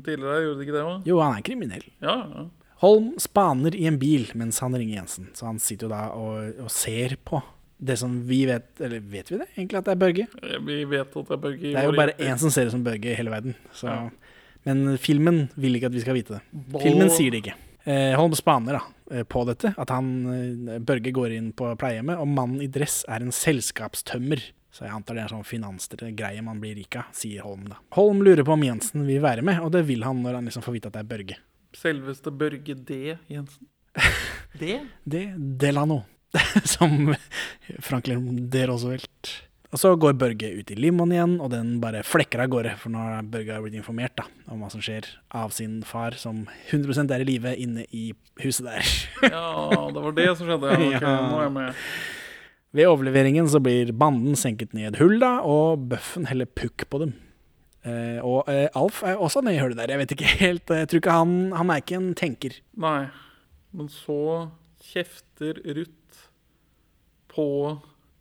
tidligere, gjorde de ikke det? Va?
Jo, han er kriminell.
Ja, ja.
Holm spaner i en bil mens han ringer Jensen, så han sitter jo da og, og ser på. Det som vi vet, eller vet vi det egentlig at det er Børge?
Eh, Vi vet at det er Børge.
Det er jo bare én som ser ut som Børge i hele verden. Så.
Ja.
Men filmen vil ikke at vi skal vite det. Filmen sier det ikke. Eh, Holm spaner da, eh, på dette, at han, eh, Børge går inn på pleiehjemmet, og mannen i dress er en selskapstømmer. Så jeg antar det er sånn finansgreie man blir rik av, sier Holm da. Holm lurer på om Jensen vil være med, og det vil han når han liksom får vite at det er Børge.
Selveste Børge D. Jensen. D?
Det Delano, som Franklin D. Roosevelt. Og så går Børge ut i limoen igjen, og den bare flekker av gårde. For nå har Børge blitt informert da, om hva som skjer av sin far, som 100 er i live inne i huset der.
Ja, det var det som skjedde. Ja, ok,
Ja.
nå er jeg med.
Ved overleveringen så blir banden senket ned i et hull, da, og bøffen heller pukk på dem. Eh, og eh, Alf er også nede i hullet der. Jeg vet ikke helt, eh, jeg tror ikke han, han er ikke en tenker.
Nei. Men så kjefter Ruth på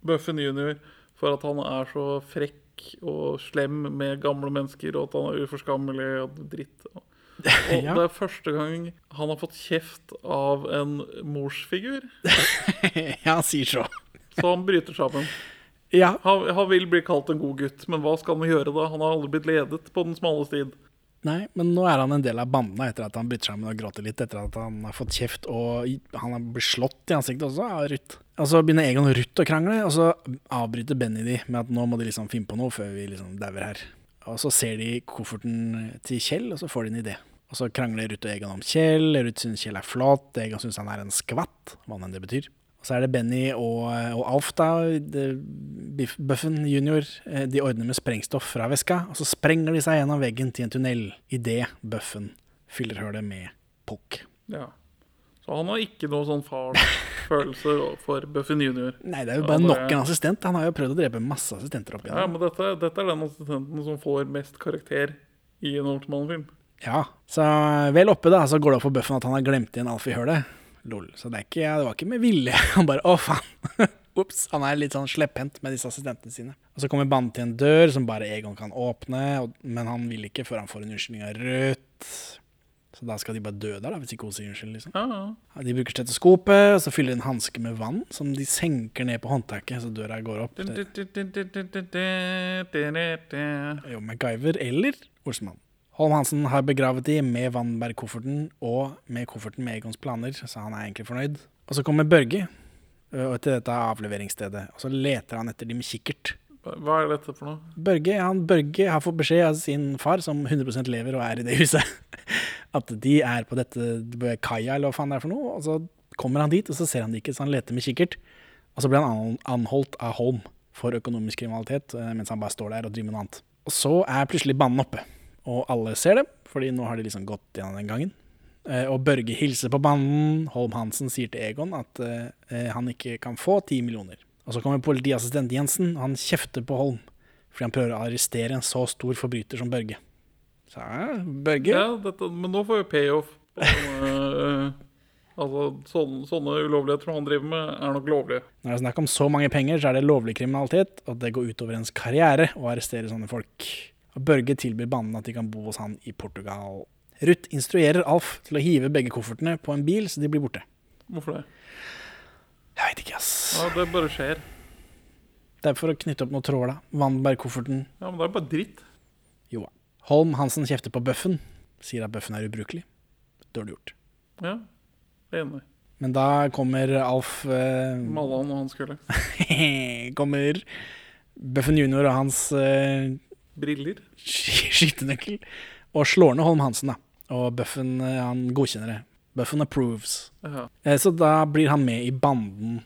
Bøffen junior for at han er så frekk og slem med gamle mennesker, og at han er uforskammelig og dritt. Og
Ja.
det er første gang han har fått kjeft av en morsfigur,
ja, han sier så.
så han bryter sammen.
Ja,
Han, han vil bli kalt en god gutt, men hva skal han gjøre da? Han har aldri blitt ledet på den smale stid.
Nei, men nå er han en del av bandene etter at han bryter sammen og gråter litt etter at han har fått kjeft og i- han har blitt slått i ansiktet også av Ruth. Og så begynner Egon og Ruth å krangle, og så avbryter Benny de med at nå må de liksom finne på noe før vi liksom dauer her. Og så ser de kofferten til Kjell, og så får de en idé. Og så krangler Ruth og Egon om Kjell. Ruth syns Kjell er flott, Egon syns han er en skvatt, hva enn det betyr. Og så er det Benny og, eh, og Alf, da, det- Biff- Bøffen junior. eh, De ordner med sprengstoff fra veska, og så sprenger de seg gjennom veggen til en tunnel idet Bøffen fyller hølet med pukk.
Ja. Så han har ikke noe sånn farsfølelse for Buffin junior.
Nei, det er jo bare
Ja, det-
nok en assistent. Han har jo prøvd å drepe masse assistenter opp
Ja,
igjennom.
men dette, dette er den assistenten som får mest karakter i en Oltmann-film.
Ja, så vel oppe, da, så går det opp for Bøffen at han har glemt igjen Alf i hølet. Lol. Så det, er ikke, ja, det var ikke med vilje. Han bare å, faen. Ops. Han er litt sånn slepphendt med disse assistentene sine. Og så kommer banen til en dør som bare Egon kan åpne, og, men han vil ikke før han får en unnskyldning av Rødt. Så da skal de bare dø der, da, hvis ikke hun sier unnskyld, liksom.
Ja, ja.
Ja, De bruker stetoskopet, og så fyller de en hanske med vann som de senker ned på håndtaket, så døra går opp. Det er jo MacGyver eller Olsenmann. Holm Hansen har begravet de med Wannberg-kofferten og med kofferten med Egons planer, så han er egentlig fornøyd. Og så kommer Børge ø, og til dette avleveringsstedet, og så leter han etter de med kikkert.
Hva er dette for noe?
Børge, han, Børge har fått beskjed av sin far, som 100 lever og er i det huset, at de er på dette kaia, eller hva faen det er for noe. Og så kommer han dit, og så ser han det ikke, så han leter med kikkert. Og så blir han an- anholdt av Holm for økonomisk kriminalitet, eh, mens han bare står der og driver med noe annet. Og så er plutselig banen oppe, og alle ser dem, fordi nå har de liksom gått gjennom den gangen. Eh, Og Børge hilser på banden. Holm-Hansen sier til Egon at eh, eh, han ikke kan få ti millioner. Og så kommer politiassistent Jensen, og han kjefter på Holm. Fordi han prøver å arrestere en så stor forbryter som Børge. Så ja, Børge
Ja, dette, men nå får vi payoff. på sånne, eh, altså, sånne, sånne ulovligheter som han driver med, er nok lovlige.
Når det er snakk om så mange penger, så er det lovlig kriminalitet, og det går utover ens karriere å arrestere sånne folk. Og Børge tilbyr bandene at de kan bo hos han i Portugal. Ruth instruerer Alf til å hive begge koffertene på en bil, så de blir borte.
Hvorfor det?
Jeg veit ikke, ass.
Ja, Det bare skjer.
Det er for å knytte opp noen tråder, da. Vandenberg-kofferten.
Ja, Men det er bare dritt.
Jo da. Holm Hansen kjefter på Bøffen. Sier at Bøffen er ubrukelig. Dårlig gjort.
Ja, jeg er enig.
Men da kommer Alf eh,
Malla han og han skulle.
Kommer Bøffen junior og hans eh,
Briller.
sky- skytenøkkel og slår ned Holm Hansen, da. Og Bøffen eh, han godkjenner det. Bøffen approves.
Ja.
Eh, så da blir han med i banden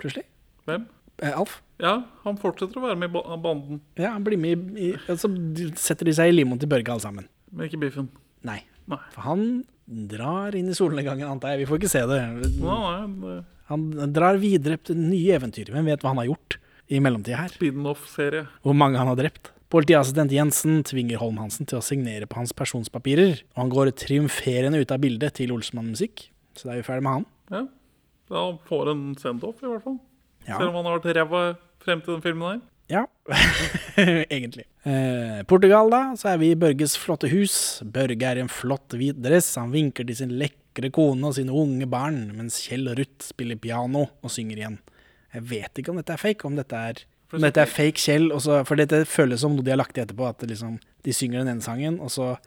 plutselig.
Hvem?
Eh, Alf?
Ja, han fortsetter å være med i ba- banden,
Ja, han blir med i, i og Så setter de seg i limoen til Børge, alle sammen.
men ikke biffen.
Nei.
Nei.
For han drar inn i solnedgangen, antar jeg. Vi får ikke se det.
Nei, nei, det-
Han drar videre til nye eventyr. Hvem vet hva han har gjort i mellomtida her?
Spin-off-serie.
Hvor mange han har drept? Politiassistent Jensen tvinger Holm-Hansen til å signere på hans personspapirer, og han går triumferende ut av bildet til Olsenmann Musikk. Så da er vi ferdig med han.
Ja. Da han får en send-off, i hvert fall.
Ja.
Selv om han har vært ræva frem til den filmen her.
Ja, egentlig. Eh, Portugal, da, så er vi i Børges flotte hus. Børge er i en flott hvit dress. Han vinker til sin lekre kone og sine unge barn, mens Kjell og Ruth spiller piano og synger igjen. Jeg vet ikke om dette er fake, om dette er, om dette er fake Kjell. og så- for dette føles som noe de har lagt i etterpå, at det liksom, de synger den ene sangen, og så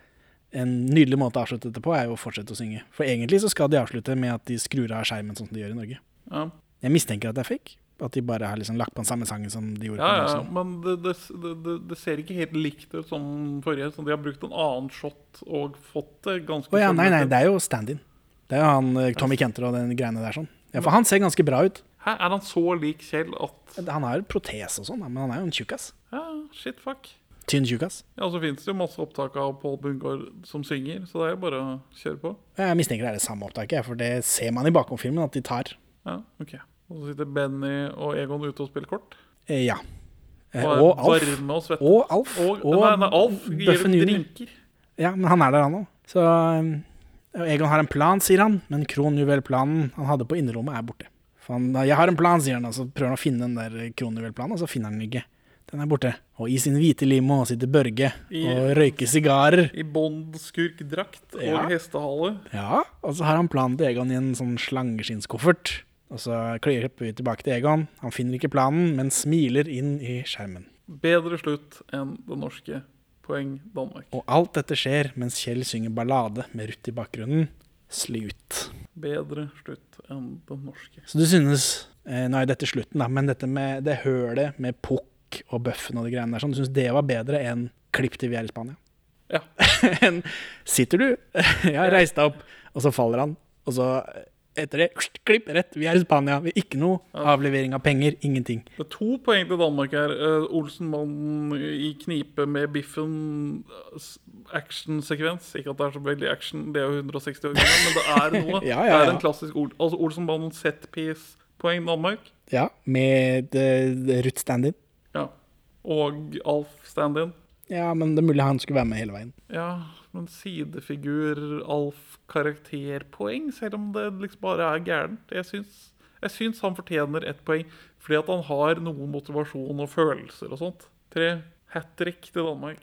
en nydelig måte å avslutte dette på, er jo å fortsette å synge. For egentlig så skal de avslutte med at de skrur av skjermen, sånn som de gjør i Norge.
Ja,
Jeg mistenker at det er fake. At de bare har liksom lagt på den samme sangen som de gjorde
ja,
på
ja
Dagsnytt.
men det, det, det, det- det ser ikke helt likt ut som forrige. Så de har brukt en annen shot og fått det ganske
Å ja, nei, nei,
formelt.
det er jo stand-in. Det er jo han eh, Tommy Kenter og den greiene der sånn. Ja, for han ser ganske bra ut.
Hæ, er han så lik Kjell at
Han har jo protese og sånn, men han er jo en tjukkas.
Ja, shit, fuck.
Tynn tjukkas.
Ja, og så finnes det jo masse opptak av Pål Bungård som synger, så det er jo bare å kjøre på.
Jeg mistenker det er det samme opptaket, jeg, for det ser man i bakomfilmen at de tar.
Ja, ok. Og så sitter Benny og Egon ute og spiller kort.
Eh, ja. Eh,
Og
og
er
Alf.
varme og svette.
Og Alf.
Og,
og
nei, nei, Alf gir
Bøffen
dem
Junior.
drinker.
Ja, men han er der, han òg. Så eh, Egon har en plan, sier han, men kronjuvelplanen han hadde på innerrommet, er borte. For han, jeg har en plan, sier han, og så prøver han å finne den der kronjuvelplanen, og så finner han den ikke. Den er borte. Og i sin hvite limo sitter Børge og røyker sigarer.
I Bond-skurkdrakt og
Ja.
hestehale.
Ja, og så har han planen til Egon i en sånn slangeskinnskoffert. Og så klipper vi tilbake til Egon. Han finner ikke planen, men smiler inn i skjermen.
Bedre slutt enn det norske. Poeng Danmark.
Og alt dette skjer mens Kjell synger ballade med Ruth i bakgrunnen. Slut.
Bedre slutt enn det norske.
Så du synes eh, Nå er jo dette slutten, da, men dette med det hølet med pukk og bøffen og de greiene der sånn, du synes det var bedre enn klipp til vi er i Spania?
Ja.
enn Sitter du? ja, reis deg opp, og så faller han. Og så eh, etter det kst, klipp rett, vi er i Spania. Vi ikke noe avlevering av penger, ingenting.
Det er to poeng til Danmark her. Eh, Olsenmannen i knipe med biffen. eh, s- Actionsekvens. Ikke at det er så veldig action, det er jo 160 år gammel, men det er noe.
Ja, ja,
Det er
ja.
en klassisk Ol altså Olsenmannen setpiece. Poeng Danmark.
Ja, med uh, Ruth stand-in.
Ja. Og Alf stand-in.
Ja, men det er mulig han skulle være med hele veien.
Ja, men sidefigur, Alf, karakterpoeng, selv om det liksom bare er gærent. Jeg syns, jeg syns han fortjener ett poeng, fordi at han har noe motivasjon og følelser og sånt. Tre hat trick til Danmark.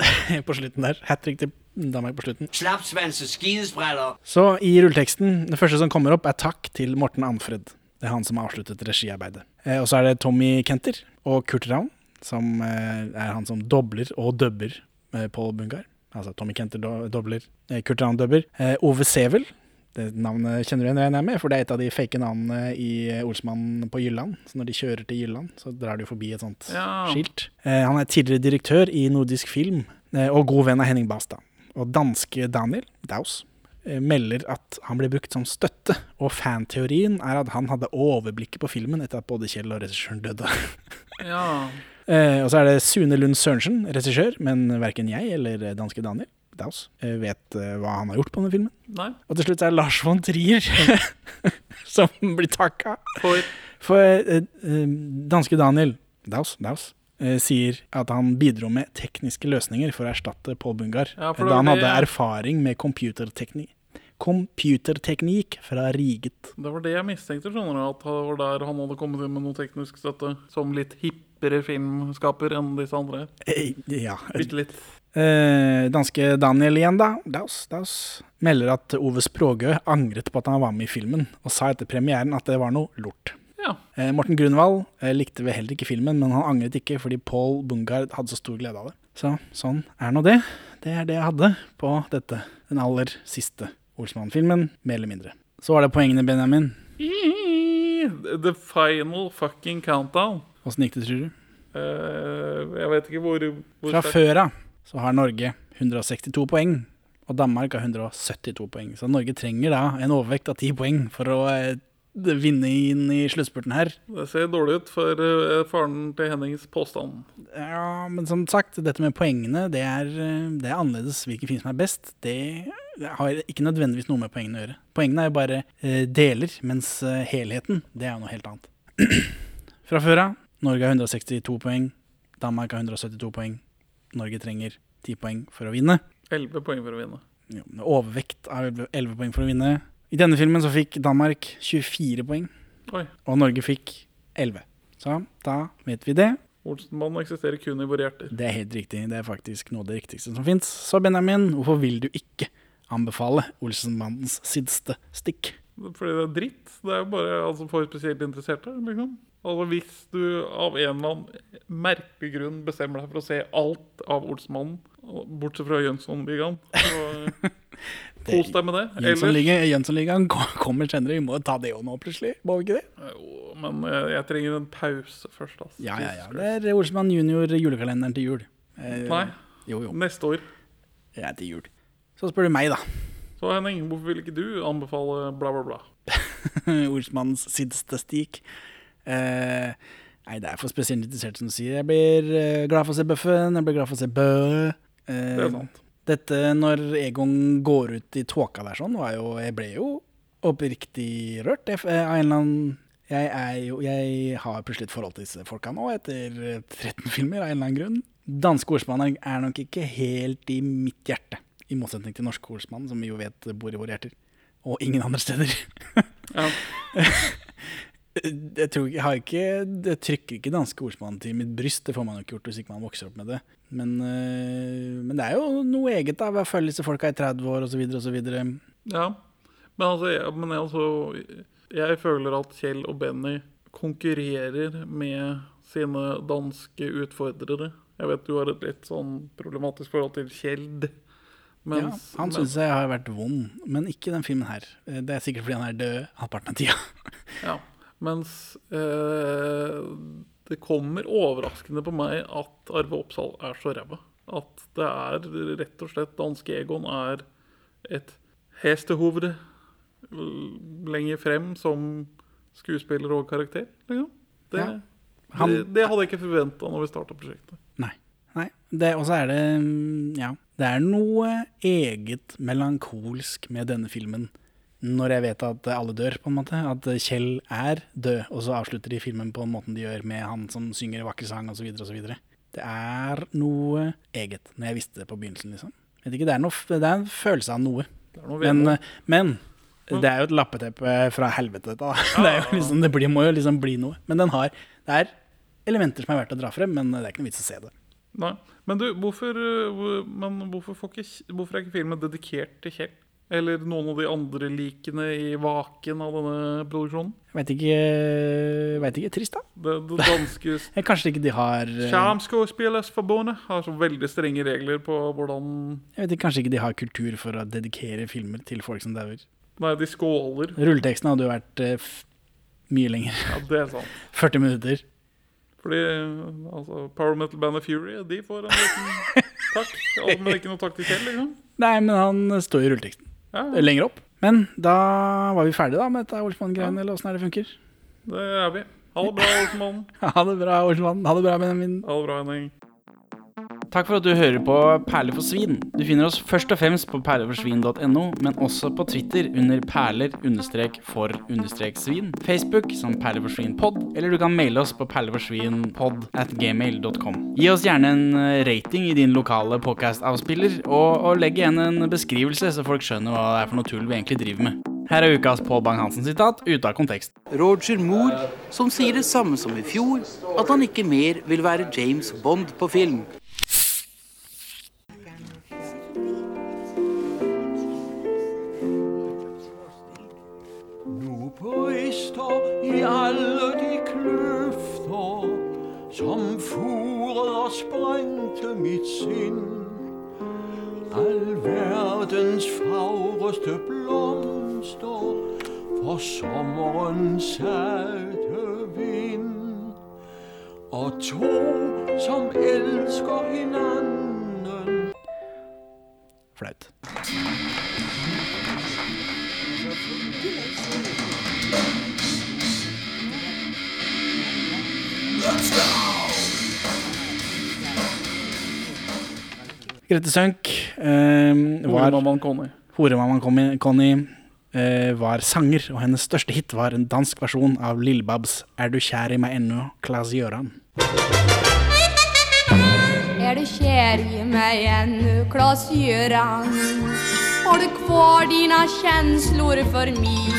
på slutten der. Hat trick til Danmark på slutten.
Slapsvanse, skidespredder.
Så i rulleteksten, det første som kommer opp, er takk til Morten Anfred. Det er han som har avsluttet regiarbeidet. Eh, og så er det Tommy Kenter og Kurt Raun, som eh, er han som dobler og dubber eh, Pål Bungar. Altså Tommy Kenter do dobler, eh, Kurt Raun dubber. Eh, Ove Sevel, det navnet kjenner du igjen, regner jeg med, for det er et av de fake navnene i eh, Olsmann på Jylland. Så når de kjører til Jylland, så drar de jo forbi et sånt
Ja.
skilt. Eh, han er tidligere direktør i Nordisk Film, eh, og god venn av Henning Bastad. Og danske Daniel Daus eh, melder at han ble brukt som støtte, og fanteorien er at han hadde overblikket på filmen etter at både Kjell og regissøren døde.
Ja.
Eh, og så er det Sune Lund Sørensen, regissør, men verken jeg eller danske Daniel Daus eh, vet eh, hva han har gjort på denne filmen.
Nei.
Og til slutt er det Lars von Trier som blir takka.
For
For eh, eh, danske Daniel Daus, Daus eh, sier at han bidro med tekniske løsninger for å erstatte Paul Bungar,
Ja, for det
da han
var det-
hadde erfaring med computerteknikk. Computerteknikk fra Riget.
det var det jeg mistenkte, skjønner du. At det var der han hadde kommet inn med noe teknisk støtte. Som litt hippere filmskaper enn disse andre.
Eh, ja.
Bitte litt.
Eh, danske Daniel igjen, da. Daus, daus. Melder at Ove Språgø angret på at han var med i filmen, og sa etter premieren at det var noe lort.
Ja.
Eh, Morten Grunwald eh, likte vel heller ikke filmen, men han angret ikke fordi Paul Bungard hadde så stor glede av det. Så sånn er nå det. Det er det jeg hadde på dette. Den aller siste Olsmann-filmen, mer eller mindre. Så var det poengene, Benjamin.
The final fucking countdown.
Åssen gikk det, tror du?
Eh, jeg vet ikke hvor, hvor
Fra
sterkt-
før av så har Norge 162 poeng, og Danmark har 172 poeng. Så Norge trenger da en overvekt av 10 poeng for å eh, vinne inn i sluttspurten her.
Det ser dårlig ut for eh, faren til Hennings påstand.
Ja, men som sagt, dette med poengene, det er, eh, det er annerledes. Hvilken film som er best, det har ikke nødvendigvis noe med poengene å gjøre. Poengene er jo bare eh, deler, mens eh, helheten, det er jo noe helt annet. Fra før av, Norge har 162 poeng, Danmark har 172 poeng. Norge trenger 10 poeng for å vinne.
11 poeng for å vinne.
Jo, med overvekt av 11 11 poeng for å vinne. I denne filmen så fikk Danmark 24 poeng,
Oi.
og Norge fikk 11. Så da vet vi det.
Olsenmannen eksisterer kun i våre hjerter.
Det er helt riktig. Det er faktisk noe av det riktigste som fins. Så Benjamin, hvorfor vil du ikke anbefale Olsenmannens siste stikk?
Fordi det er dritt. Det er jo bare altså, for spesielt interesserte. liksom. Altså Hvis du av en eller annen merkelig grunn bestemmer deg for å se alt av Olsenmannen, bortsett fra Jønssonligaen, så kos deg med det. Ellers,
Jønsson-ligaen Jønsson-ligaen ko- kommer senere. Vi må ta det òg nå, plutselig. Må vi ikke det?
Jo, men jeg, jeg trenger en pause først. Altså.
Ja, ja, ja. Det er Olsenmann junior julekalenderen til jul. Eh,
Nei,
Jo, jo.
neste år.
Det er til jul. Så spør du meg, da.
Så Henning, hvorfor vil ikke du anbefale bla, bla, bla?
Olsmannens siste stik. Eh, nei, det er for spesielt interessert, som du sier. Jeg blir eh, glad for å se Bøffen, jeg blir glad for å se Bø. Eh,
Det er sant.
Dette når Egon går ut i tåka der sånn, var jo Jeg ble jo oppriktig rørt. Jeg, eh, av en eller annen jeg, er jo, jeg har plutselig et forhold til disse folka nå, etter eh, 13 filmer, av en eller annen grunn. Danske ordsmann er- er nok ikke helt i mitt hjerte, i motsetning til norske ordsmann, som vi jo vet bor i våre hjerter. Og ingen andre steder.
Ja.
Eh, jeg, tror, ikke- jeg, har ikke, jeg trykker ikke danske ordsmann til mitt bryst, det får man jo ikke gjort hvis ikke man vokser opp med det. Men, øh, men det er jo noe eget av å følge disse folka i 30 år osv. osv.
Ja, men altså, jeg, men altså Jeg føler at Kjell og Benny konkurrerer med sine danske utfordrere. Jeg vet du har et litt sånn problematisk forhold til Kjeld.
Ja,
Mens,
han
men-
syns jeg har vært vond, men ikke i den filmen her. Eh, Det er sikkert fordi han er død halvparten av tida.
ja, mens eh, det kommer overraskende på meg at Arve Oppsal er så ræva. At det er rett og slett danske Egon er et hestehoved l- lenger frem som skuespiller og karakter. Liksom. Det,
Ja. Han-
det, det hadde jeg ikke forventa når vi starta prosjektet.
Nei. Nei. Det, og så er det mm, Ja. Det er noe eget melankolsk med denne filmen. Når jeg vet at alle dør, på en måte. At Kjell er død, og så avslutter de filmen på den måten de gjør med han som synger en vakker sang, osv. osv. Det er noe eget, når jeg visste det på begynnelsen, liksom. Vet ikke, det, er noe, f- det er en følelse av noe.
Det er noe
Men,
vedmål.
men det er jo et lappeteppe fra helvete, dette. da. Det, er jo liksom, det blir, må jo liksom bli noe. Men den har Det er elementer som er verdt å dra frem, men det er ikke noe vits å se det.
Nei. Men du, hvorfor, øh, hvor- men hvorfor, får ikke, Kj- hvorfor er ikke filmen dedikert til Kjell? Eller noen av de andre likene i vaken av denne produksjonen?
Jeg Vet ikke, vet ikke. Trist, da.
Det, det danske
Eh, Kanskje ikke de har eh,
Skjermskuespillersforbundet har så veldig strenge regler på hvordan
Jeg vet ikke, Kanskje ikke de har kultur for å dedikere filmer til folk som dauer.
Nei, de skåler.
Rulleteksten hadde jo vært eh, f mye lenger.
Ja, det er sant.
40 minutter.
Fordi altså, Power Metal Band of Fury, de får en liten takk. Ja, men ikke noe takk til Kjell, liksom.
Nei, men han står i rulleteksten.
Ja,
Eh, Lenger opp. Men da var vi ferdige da med dette Olsmann-greiene, eller åssen det funker.
det er vi. Ha det bra, Olsenmannen.
Ha det bra, Olsmann. Ha det bra, Benjamin.
Ha det bra, Henning.
Takk for at du hører på Perler for svin. Du finner oss først og fremst på perleforsvin.no, men også på Twitter under perler-for-svin, Facebook som perleforsvinpod, eller du kan maile oss på perleforsvinpod at gmail.com. Gi oss gjerne en eh, rating i din lokale podcast-avspiller, og, og legg igjen en beskrivelse, så folk skjønner hva det er for noe tull vi egentlig driver med. Her er ukas Pål Bang-Hansen-sitat ute av kontekst.
Roger Moore, som sier det samme som i fjor, at han ikke mer vil være James Bond på film.
Nå brister i alle de kløfter som foret og sprengte mitt sinn. All verdens fagreste blomster for sommerens salte vind. Og to som elsker hinanden
Flaut. Grete Sønk eh, var
Mammaen Conny.
Horemammaen Conny- Conny eh, var sanger, og hennes største hit var en dansk versjon av Lillebabs 'Er du kjær i meg ennå', Claes Gjøran.
Er du kjær i meg ennå, Klas Gjøran? Har du kvar dina känslor för mig?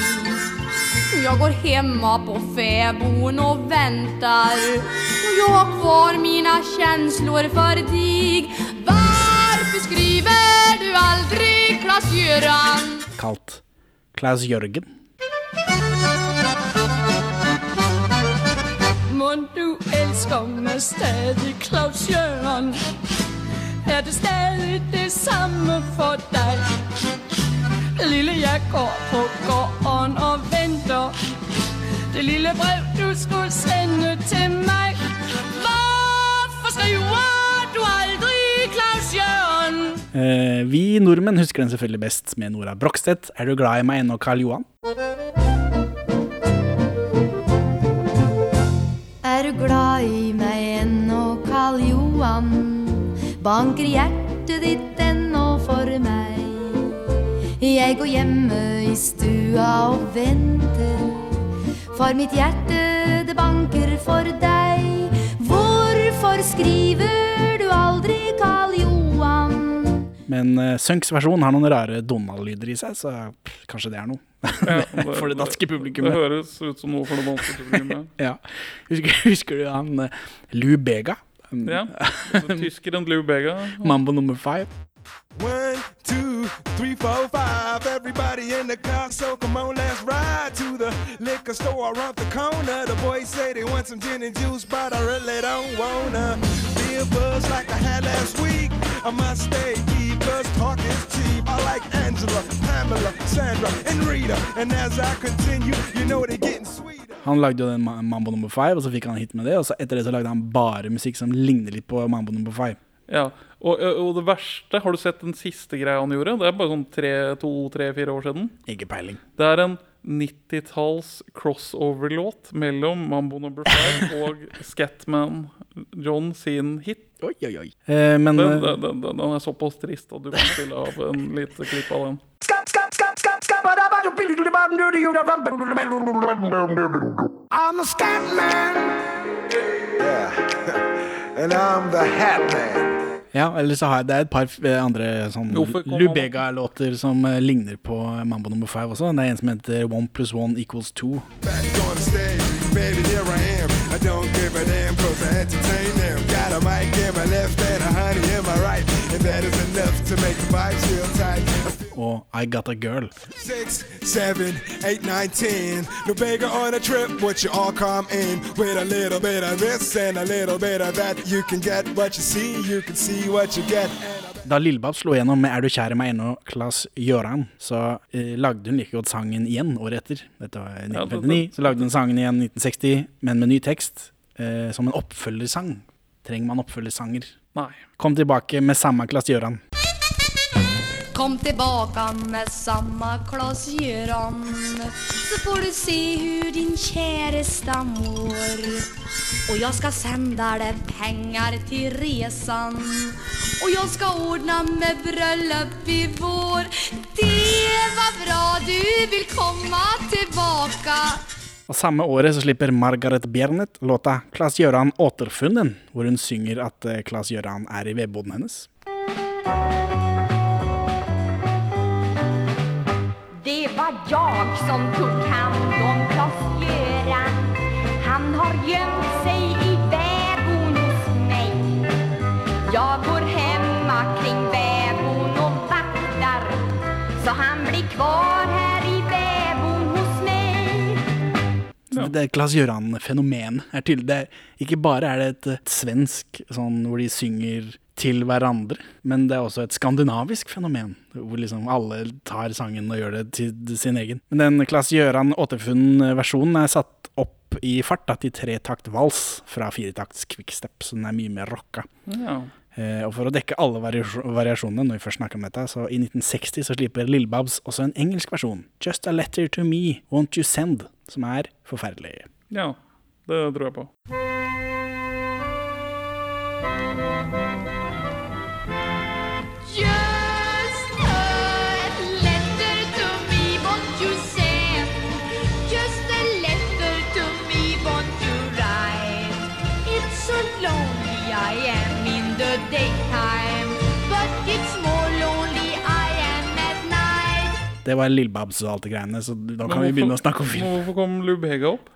Jag går hemma på fäbon och väntar och jag har kvar mina känslor för dig. Varför skriver du aldrig, Klas Göran?
Kalt Claes Jørgen.
Mon du elsker mig stadig, Claus Jørgen Er det stadig det samme for dig? Lille, jeg går på gården og venter Det lille brev, du skulle sende til mig Hvorfor skriver du aldrig, Claus Jørgen?
Eh, vi nordmenn husker den selvfølgelig best med Nora Brokstedt. 'Er du glad i meg ennå', Karl Johan.
Er du glad i meg ennå, Karl Johan? Banker hjertet ditt ennå for meg? Jeg går hjemme i stua og venter, for mitt hjerte det banker for deg. Hvorfor skriver du aldri, Karl Johan?
Men eh, Sønks versjon har noen rare Donald-lyder i seg, så pff, kanskje det er noe. for det danske
Det
publikummet.
høres ut som noe for det danske publikummet.
Ja. Husker, husker du han eh, Lou Bega? Han-
Ja. Så Tyskeren Lou Bega.
Mambo nummer five.
One, two, three, four, five. Everybody in the car, so come on, let's ride to the liquor store around the corner. The boys say they want some gin and juice, but I really don't wanna be a buzz like I had last week. I must stay deep, cause talk is cheap. I like Angela, Pamela, Sandra, and Rita. And as I continue, you know they're getting sweeter.
Han lagde jo den Ma- Mambo nummer five, og så fikk han hit med det. Og så etter det så lagde han bare musikk som ligner litt på Mambo nummer five.
Ja. Og, og det verste, har du sett den siste greia han gjorde? Det er bare sånn tre, to, tre, fire år siden.
Ikke peiling.
Det er en 90-talls crossover-låt mellom Mambo No. 5 og Scatman John sin hit.
Oi, oi, oi. Eh, men eh,
Den, den, den, den er såpass trist at du kan spille av en liten klipp av den.
I'm the scat man. Yeah. and I'm the hat man.
ja, eller så har jeg, det er et par eh, andre sånn
Hvorfor kom han-
Lubega-låter som eh, ligner på Mambo nummer five også. Det er en som heter One plus one equals two.
Back on stage, baby, here I am. I don't give a damn, cause I entertain them. Got a mic in my left and a honey in my right. And that is enough to make the vibe feel tight. I feel
Og I Got a Girl.
Six, seven, eight, nine, ten. No bigger on a trip, what you all come in with a little bit of this and a little bit of that. You can get what you see, you can see what you get.
Da Lillebab slo gjennom med 'Er du kjær i meg ennå', Claes Gjøran, så eh, lagde hun like godt sangen igjen året etter. Dette var i
Ja, det-
1959. Så lagde hun sangen igjen i 1960, men med ny tekst. Eh, som en oppfølgersang. Trenger man oppfølgersanger?
Nei.
Kom tilbake med samme Claes Gjøran.
Kom tillbaka med samma glasögon Så får du se hur din käresta mår Och jag ska sända dig pengar till resan Och jag ska ordna med bröllop i vår Det var bra, du vill komma tillbaka
Og Samme året så slipper Margaret Bjernet låta 'Claes Gjøran återfunnen', hvor hun synger at eh, Claes Gjøran er i vedboden hennes.
Det var jag som tog hand om Klas-Göran Han har gömt sig i vägon hos mig Jag går hemma kring vägon och vaktar Så han blir kvar här i vägon hos mig
Så Det Claes Gjøran-fenomen er tydelig. Det er, ikke bare er det et, et svensk sånn hvor de synger til hverandre, men det er også et skandinavisk fenomen, hvor liksom alle tar sangen og gjør det til sin egen. Men den Claes Gjøran återfunnen-versjonen er satt opp i fart da, til tretakt vals fra firetakts quickstep, så den er mye mer rocka.
Ja.
Eh, Og for å dekke alle variasj- variasjonene, når vi først snakker om dette, så i 1960 så slipper Lil Babs også en engelsk versjon, 'Just a Letter to Me, Won't You Send', som er forferdelig.
ja. Det tror jeg på.
Just a letter to me, won't you send? Just a letter to me, won't you write? It's so lonely I am in the daytime, but it's more lonely I am at night.
Det var Lil Babs og alt det greiene, så da kan vi
Men
begynne å
hvorfor-
snakke om film.
Hvorfor kom Lubega opp?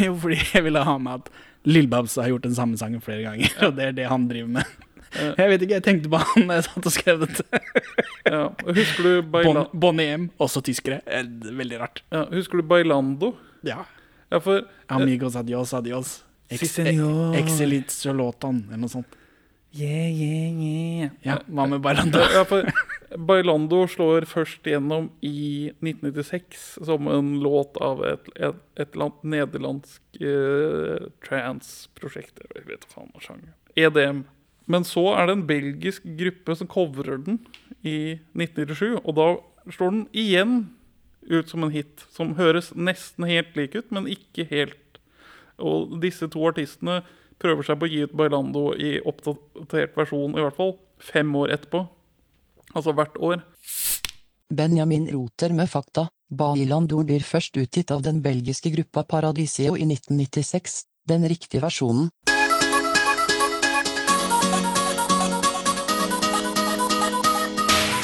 Jo, fordi jeg ville ha med at Lil Babs har gjort den samme sangen flere ganger, og det er det han driver med. Jeg vet ikke, jeg tenkte på han da jeg satt og skrev dette.
Ja. Husker du Baila...
Bon, Bonnie M, også tyskere. Eh, Veldig rart.
Ja, husker du Bailando?
Ja.
Ja, for
Amigos adios, adios. Ex-
Si, senor.
Exelitsolatan, eller noe sånt. Yeah, yeah, yeah. Ja, hva med Baranda?
Ja, for Bailando slår først gjennom i 1996 som en låt av et, et, et eller annet nederlandsk eh, trans-prosjekt. Jeg vet ikke faen hva sjanger. EDM. Men så er det en belgisk gruppe som covrer den i 1997, og da slår den igjen ut som en hit, som høres nesten helt lik ut, men ikke helt. Og disse to artistene prøver seg på å gi ut Bailando i oppdatert versjon, i hvert fall, fem år etterpå. Altså hvert år.
Benjamin roter med fakta. Bailandor blir først utgitt av den belgiske gruppa Paradisio i 1996. Den riktige versjonen.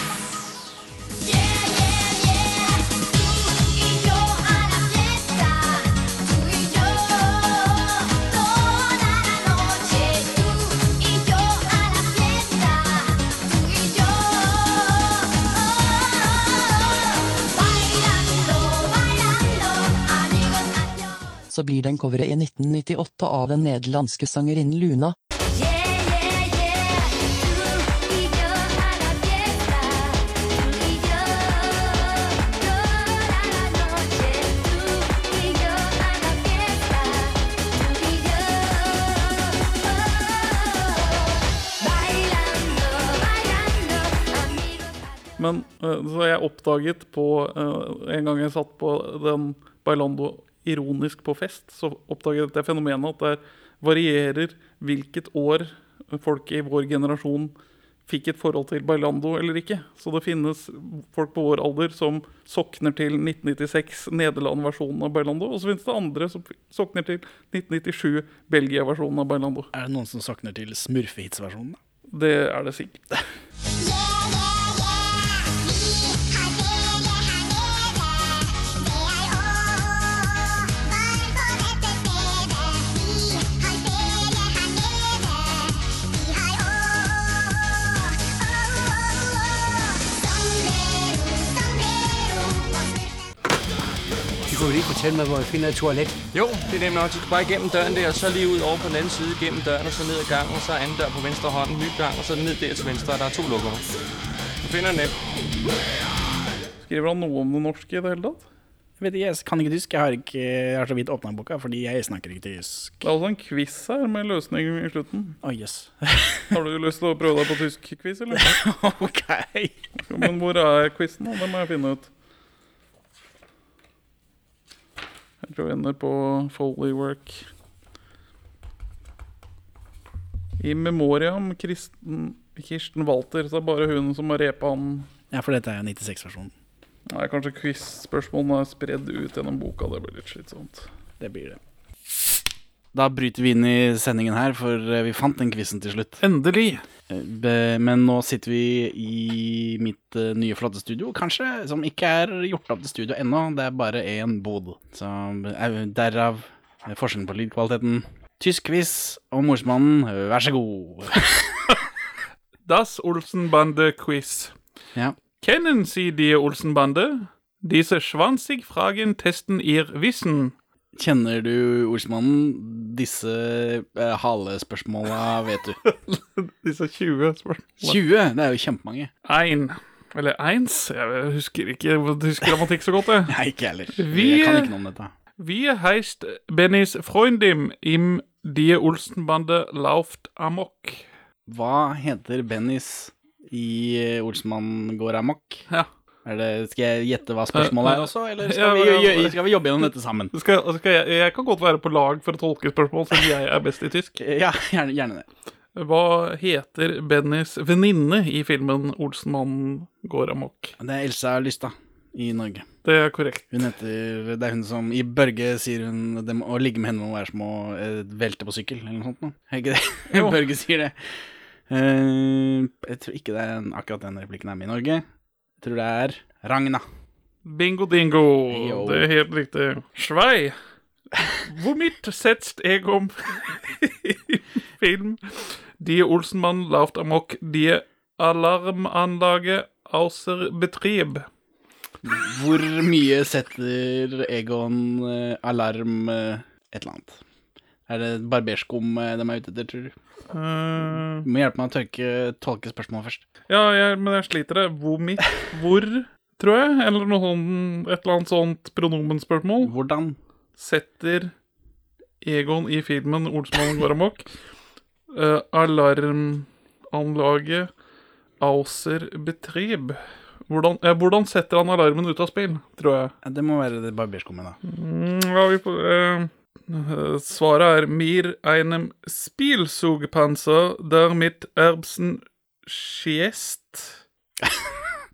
Yeah, yeah, yeah. Du y yo a la fiesta. Tú y yo toda la noche. Tú y yo a la fiesta. Tú y yo. Bailando, bailando. Amigos, adiós.
Så blir den coveret i 1998 av den nederlandske sangerinnen Luna.
Yeah, yeah, yeah. Tú y yo a la fiesta. Tú y yo toda la noche. Tú y yo a la fiesta. Tú y yo bailando, bailando, amigos.
Men eh, så jeg oppdaget på eh, En gang jeg satt på den Bailando ironisk på fest, så oppdaget jeg dette fenomenet at det varierer hvilket år folk i vår generasjon fikk et forhold til Bailando eller ikke. Så det finnes folk på vår alder som sokner til 1996, Nederland-versjonen av Bailando. Og så finnes det andre som sokner til 1997, Belgia-versjonen av Bailando.
Er det noen som sokner til smurfehitsversjonen? da?
Det er det sikkert.
Du kunne ikke fortælle mig, hvor jeg finder et toilet.
Jo, det er nemt nok. Du skal bare igennem døren der, og så lige ud over på den anden side, gennem døren, og så ned ad gangen, og så anden dør på venstre hånd, ny gang, og så ned der til venstre, og der er to lukker. Du finder den nemt.
Skriver han noe om det norske i det hele tatt?
Jeg Vet ikke, jeg kan ikke tysk. Jeg har, ikke, jeg har så vidt åpna boka, fordi jeg snakker ikke tysk.
Det er også en quiz her med løsning i slutten.
Oh, yes.
har du lyst til å prøve deg på tysk-quiz, eller?
ok.
Ja, Men hvor er quizen, da? Det må jeg finne ut. Jeg tror jeg ender på Foleywork. I memoriam Kristen, Kirsten Walter, så er det bare hun som har repa han
Ja, for dette er jo 96-versjonen.
Nei, kanskje quiz-spørsmålene er spredd ut gjennom boka. Det blir litt slitsomt.
Det blir det. Da bryter vi inn i sendingen her, for eh, vi fant den quizen til slutt. Eh,
Endelig!
Be- Men nå sitter vi i mitt eh, nye flotte studio, kanskje, som ikke er gjort opp til studio ennå. Det er bare én bod. Så eh, derav eh, forskjellen på lydkvaliteten. Tysk quiz om morsmannen, vær så god.
Das Olsenbande-quiz.
Ja.
Kennen Sie die Olsenbande? Diese 20 Fragen testen Ihr Wissen.
Kjenner du ordsmannen? Disse eh, halespørsmåla vet du.
Disse 20 spørsmålene.
20! Det er jo kjempemange.
Ein. Eller eins. Jeg husker ikke tysk grammatikk så godt, jeg.
Nei, ikke jeg heller.
Vi-
Jeg kan ikke noe om dette.
Wie heißt Bennys Freundin im Die Olsenbande lauft amok?
Hva heter Bennys i eh, Olsmann går amok?
Ja.
Er det, skal jeg gjette hva spørsmålet
Eh, eh,
er også, eller
ja,
skal vi,
ja,
gjø-
ja.
skal vi jobbe gjennom dette sammen?
Skal, altså skal jeg, jeg kan godt være på lag for å tolke spørsmål, siden jeg er best i tysk.
Ja, gjerne, gjerne det.
Hva heter Bennys venninne i filmen 'Olsenmannen går amok'?
Det er Elsa Lystad i Norge.
Det er korrekt.
Hun heter, det er hun som I Børge sier hun det må, å ligge med henne må være som å eh, velte på sykkel, eller noe sånt. nå. Er ikke det?
Jo.
Børge sier det. Eh, jeg tror ikke det er en, akkurat den replikken er med i Norge. Jeg tror det er Ragna.
Bingo dingo.
Jo.
Det er helt riktig. Svei. Womit setzt jeg om film? Die Olsenmann lauft amok. Die Alarmanlage außer Betrieb.
Hvor mye setter Egon eh, alarm eh, et eller annet? Er det barberskum eh, de er ute etter, tror du?
Eh,
Du må hjelpe meg å tørke, tolke spørsmålet først.
Ja, jeg, men jeg sliter det. Vomit. Hvor, tror jeg. Eller noe sånn, et eller annet sånt pronomenspørsmål.
Hvordan?
Setter Egon i filmen 'Olsmannen går amok'. eh, alarmanlaget Auser Betrieb. Hvordan, eh, hvordan setter han alarmen ut av spill, tror jeg.
Ja, Det må være det barberskummet, da.
Mm, ja, vi får, eh, eh, svaret er Mir einem Spielsugpanzer, der mit Erbsen schiest.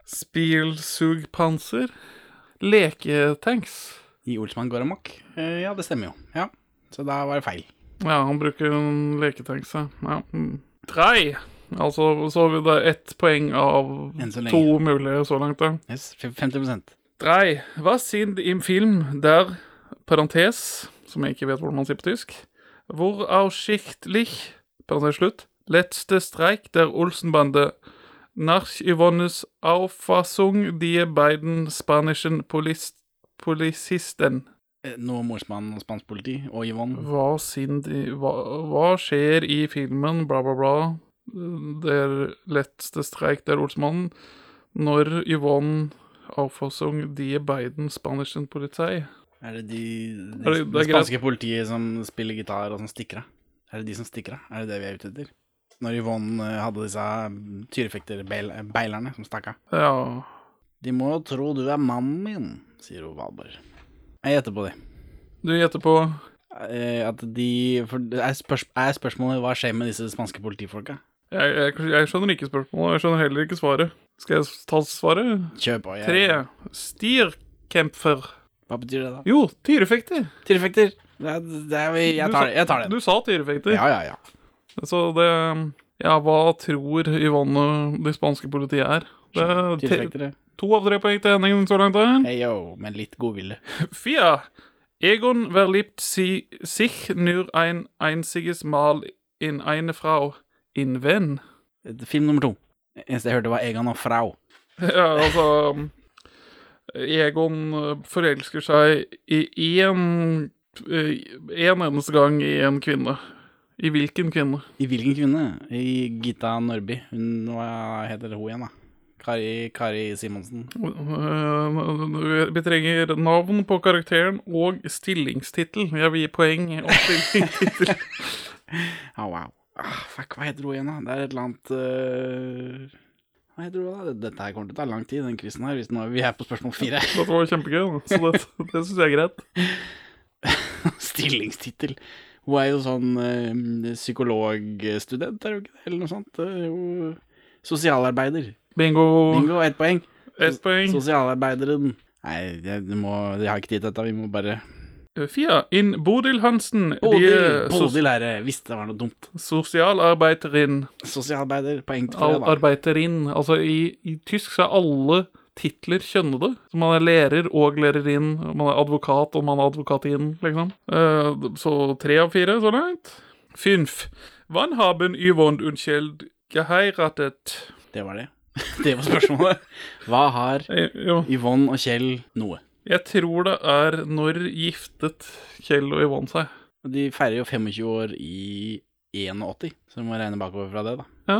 Spielsugpanser. Leketanks.
I Olsmann går amok? Eh, ja, det stemmer jo. Ja. Så da var det feil.
Ja, han bruker en leketanks, ja. ja. mm. Drei. Altså, så har vi det ett poeng av
Enn så lenge.
to mulige så langt, da.
Yes, 50
Drei. Was sind im Film der Parentes, som jeg ikke vet hvordan man sier på tysk Voraussichtlich Parentes slutt. Letzte Streik der Olsenbande. Nach Yvonnes Auffassung die beiden spanischen Polis Polizisten.
Eh, Noe morsmann og spansk politi og Yvonne.
Hva, sind, i- hva, hva skjer i filmen, bla, bla, bla, der letteste streik der Olsmannen, når Yvonne Auffassung die beiden spanischen Polizei?
Er det de, de,
Er det- det er
det spanske politiet som spiller gitar og som stikker av? Er det de som stikker av? Er det det vi er ute etter? Når Yvonne eh, hadde disse mm, tyrefekterbeilerne som stakk av.
Ja
De må jo tro du er mannen min, sier hun Valborg. Jeg gjetter på det.
Du gjetter på
Eh, At de For det er, spørs, er spørsmålet hva skjer med disse spanske politifolka?
jeg, jeg, jeg skjønner ikke spørsmålet, jeg skjønner heller ikke svaret. Skal jeg ta svaret?
Kjør på.
Tre. Stierkempfer.
Hva betyr det, da?
Jo, tyrefekter.
Tyrefekter. Det, er- det er, jeg, tar, det, jeg tar
Du
den.
sa tyrefekter.
Ja, ja, ja.
Så det Ja, hva tror Yvonne det spanske politiet er? Det er te-
Tyrefektere.
to av tre poeng til Henning så langt. da.
Hey, yo, med litt godvilje.
Vier. Egon verliebt sie, sich nur ein einziges Mal in eine Frau. In wen?
Film nummer to. Eneste jeg hørte, var Egan og Frau.
Ja, altså Egon eh, forelsker seg i én En eneste gang i en kvinne. I hvilken kvinne?
I hvilken kvinne? I Gita Nørby. Hun, hva heter hun igjen, da? Kari, Kari Simonsen.
Eh, Vi trenger navn på karakteren og stillingstittel. Jeg vil gi poeng og stillingstittel.
Ah, wow. Ah, fuck, hva heter hun igjen, da? Det er et eller annet eh, Hva heter hun da? Dette her kommer til å ta lang tid, den quizen her. Hvis nå, vi er på spørsmål fire.
Dette var kjempegøy, da. så det, det syns jeg er greit.
Stillingstittel. Hun er jo sånn eh, psykologstudent, er hun ikke det? Eller noe sånt. Eh, hun sosialarbeider.
Bingo.
Bingo, ett poeng.
Ett poeng.
Sosialarbeideren. Nei, jeg, det må, jeg har ikke tid til dette. Vi må bare
Fia inn Bodil Hansen.
Bodil,
De, eh, sos
Bodil er det. Visst det var noe dumt.
sosialarbeiderin.
Sosialarbeider. Poeng til
Al
Frida.
arbeiterin. Altså, i, i tysk så er alle titler kjønnede. Så man er lærer og lærerin, og man er advokat og man er advokatin, liksom. Eh, så tre av fire så langt. Fünf. Wann haben Yvonne und Kjeld geheiratet?
Det var det. Det var spørsmålet. Hva har
Eh, jo.
Yvonne og Kjell noe?
Jeg tror det er når giftet Kjell og Yvonne seg.
De feirer jo 25 år i 81, så vi må regne bakover fra det, da.
Ja.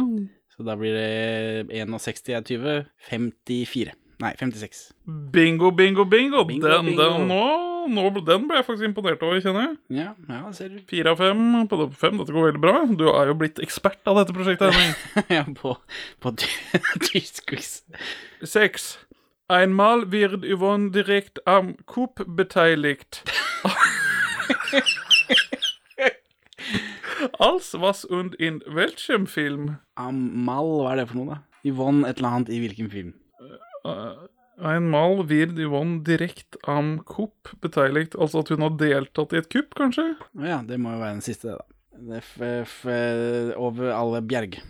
Så da blir det 61 er 20, 54. Nei, 56.
Bingo, bingo, bingo.
Bingo,
den,
bingo.
Den, nå, nå, ble- den ble jeg faktisk imponert over, kjenner jeg.
Ja, ja, ser du.
Fire av fem på topp fem. Dette går veldig bra. Du er jo blitt ekspert av dette prosjektet. Henning.
ja, på, på ty- tysk quiz.
Seks. Einmal wird Yvonne direkt am Coup beteiligt. Als was und in welchem Film?
Amal, hva er det for noe, da? Yvonne et eller annet i hvilken film?
Eh, Einmal wird Yvonne direkt am Coup beteiligt. Altså at hun har deltatt i et kupp, kanskje?
Å Ja, det må jo være den siste, det, da. Det er f f over alle bjerg.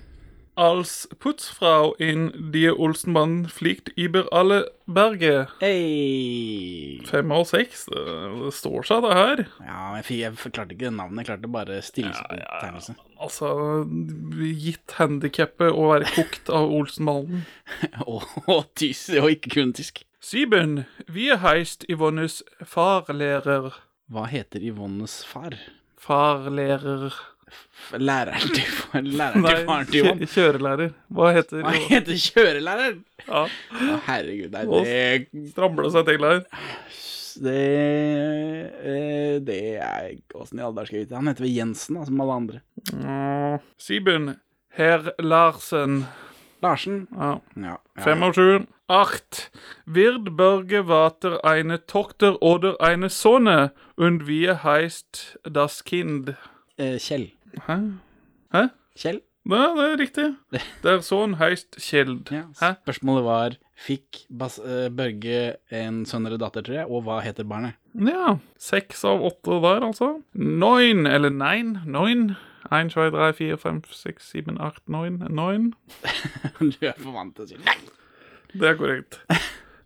Als Putzfrau in Die Olsenband fliegt über alle Berge.
Hei!
Fem av seks. Det, det står seg, det her.
Ja, jeg, fikk, jeg klarte ikke navnet, jeg klarte bare stillingstegnelse.
Altså, gitt handikappet å være kokt av Olsenbanden.
Og, og tysk, og ikke kun tysk.
Sieben, wie heißt Yvonnes farlærer?
Hva heter Yvonnes far?
Farlærer
F- Læreren til, fa- læreren til faren til
kjø-
Yvonne?
kjørelærer. Hva heter
Hva
Yvonne?
heter kjørelæreren?
Ja,
Å, herregud, nei,
Åh.
det
Strammer det seg til her?
Det, eh, det er Åssen i all verden skal jeg vite? Han heter vel Jensen, da, som alle andre.
Mm. Sieben, herr Larsen.
Larsen.
Ja.
Ja. ja.
Fem av sju. Acht. Wird Børge Water eine Tochter oder eine Sonne? Und wie heißt das Kind?
Eh, Kjell.
Hæ? Hæ?
Kjell?
Nei, det er riktig. Der Sohn heißt Kjeld.
Ja.
Hæ?
Spørsmålet var Fikk Bas eh, Børge en sønn eller datter, tror jeg, og hva heter barnet?
Ja. Seks av åtte der, altså. Neun, eller nein, neun. Ein, zwei, drei, vier, fem, seks, sieben, acht, neun. Neun.
du er for vant til å si nei.
Det er korrekt.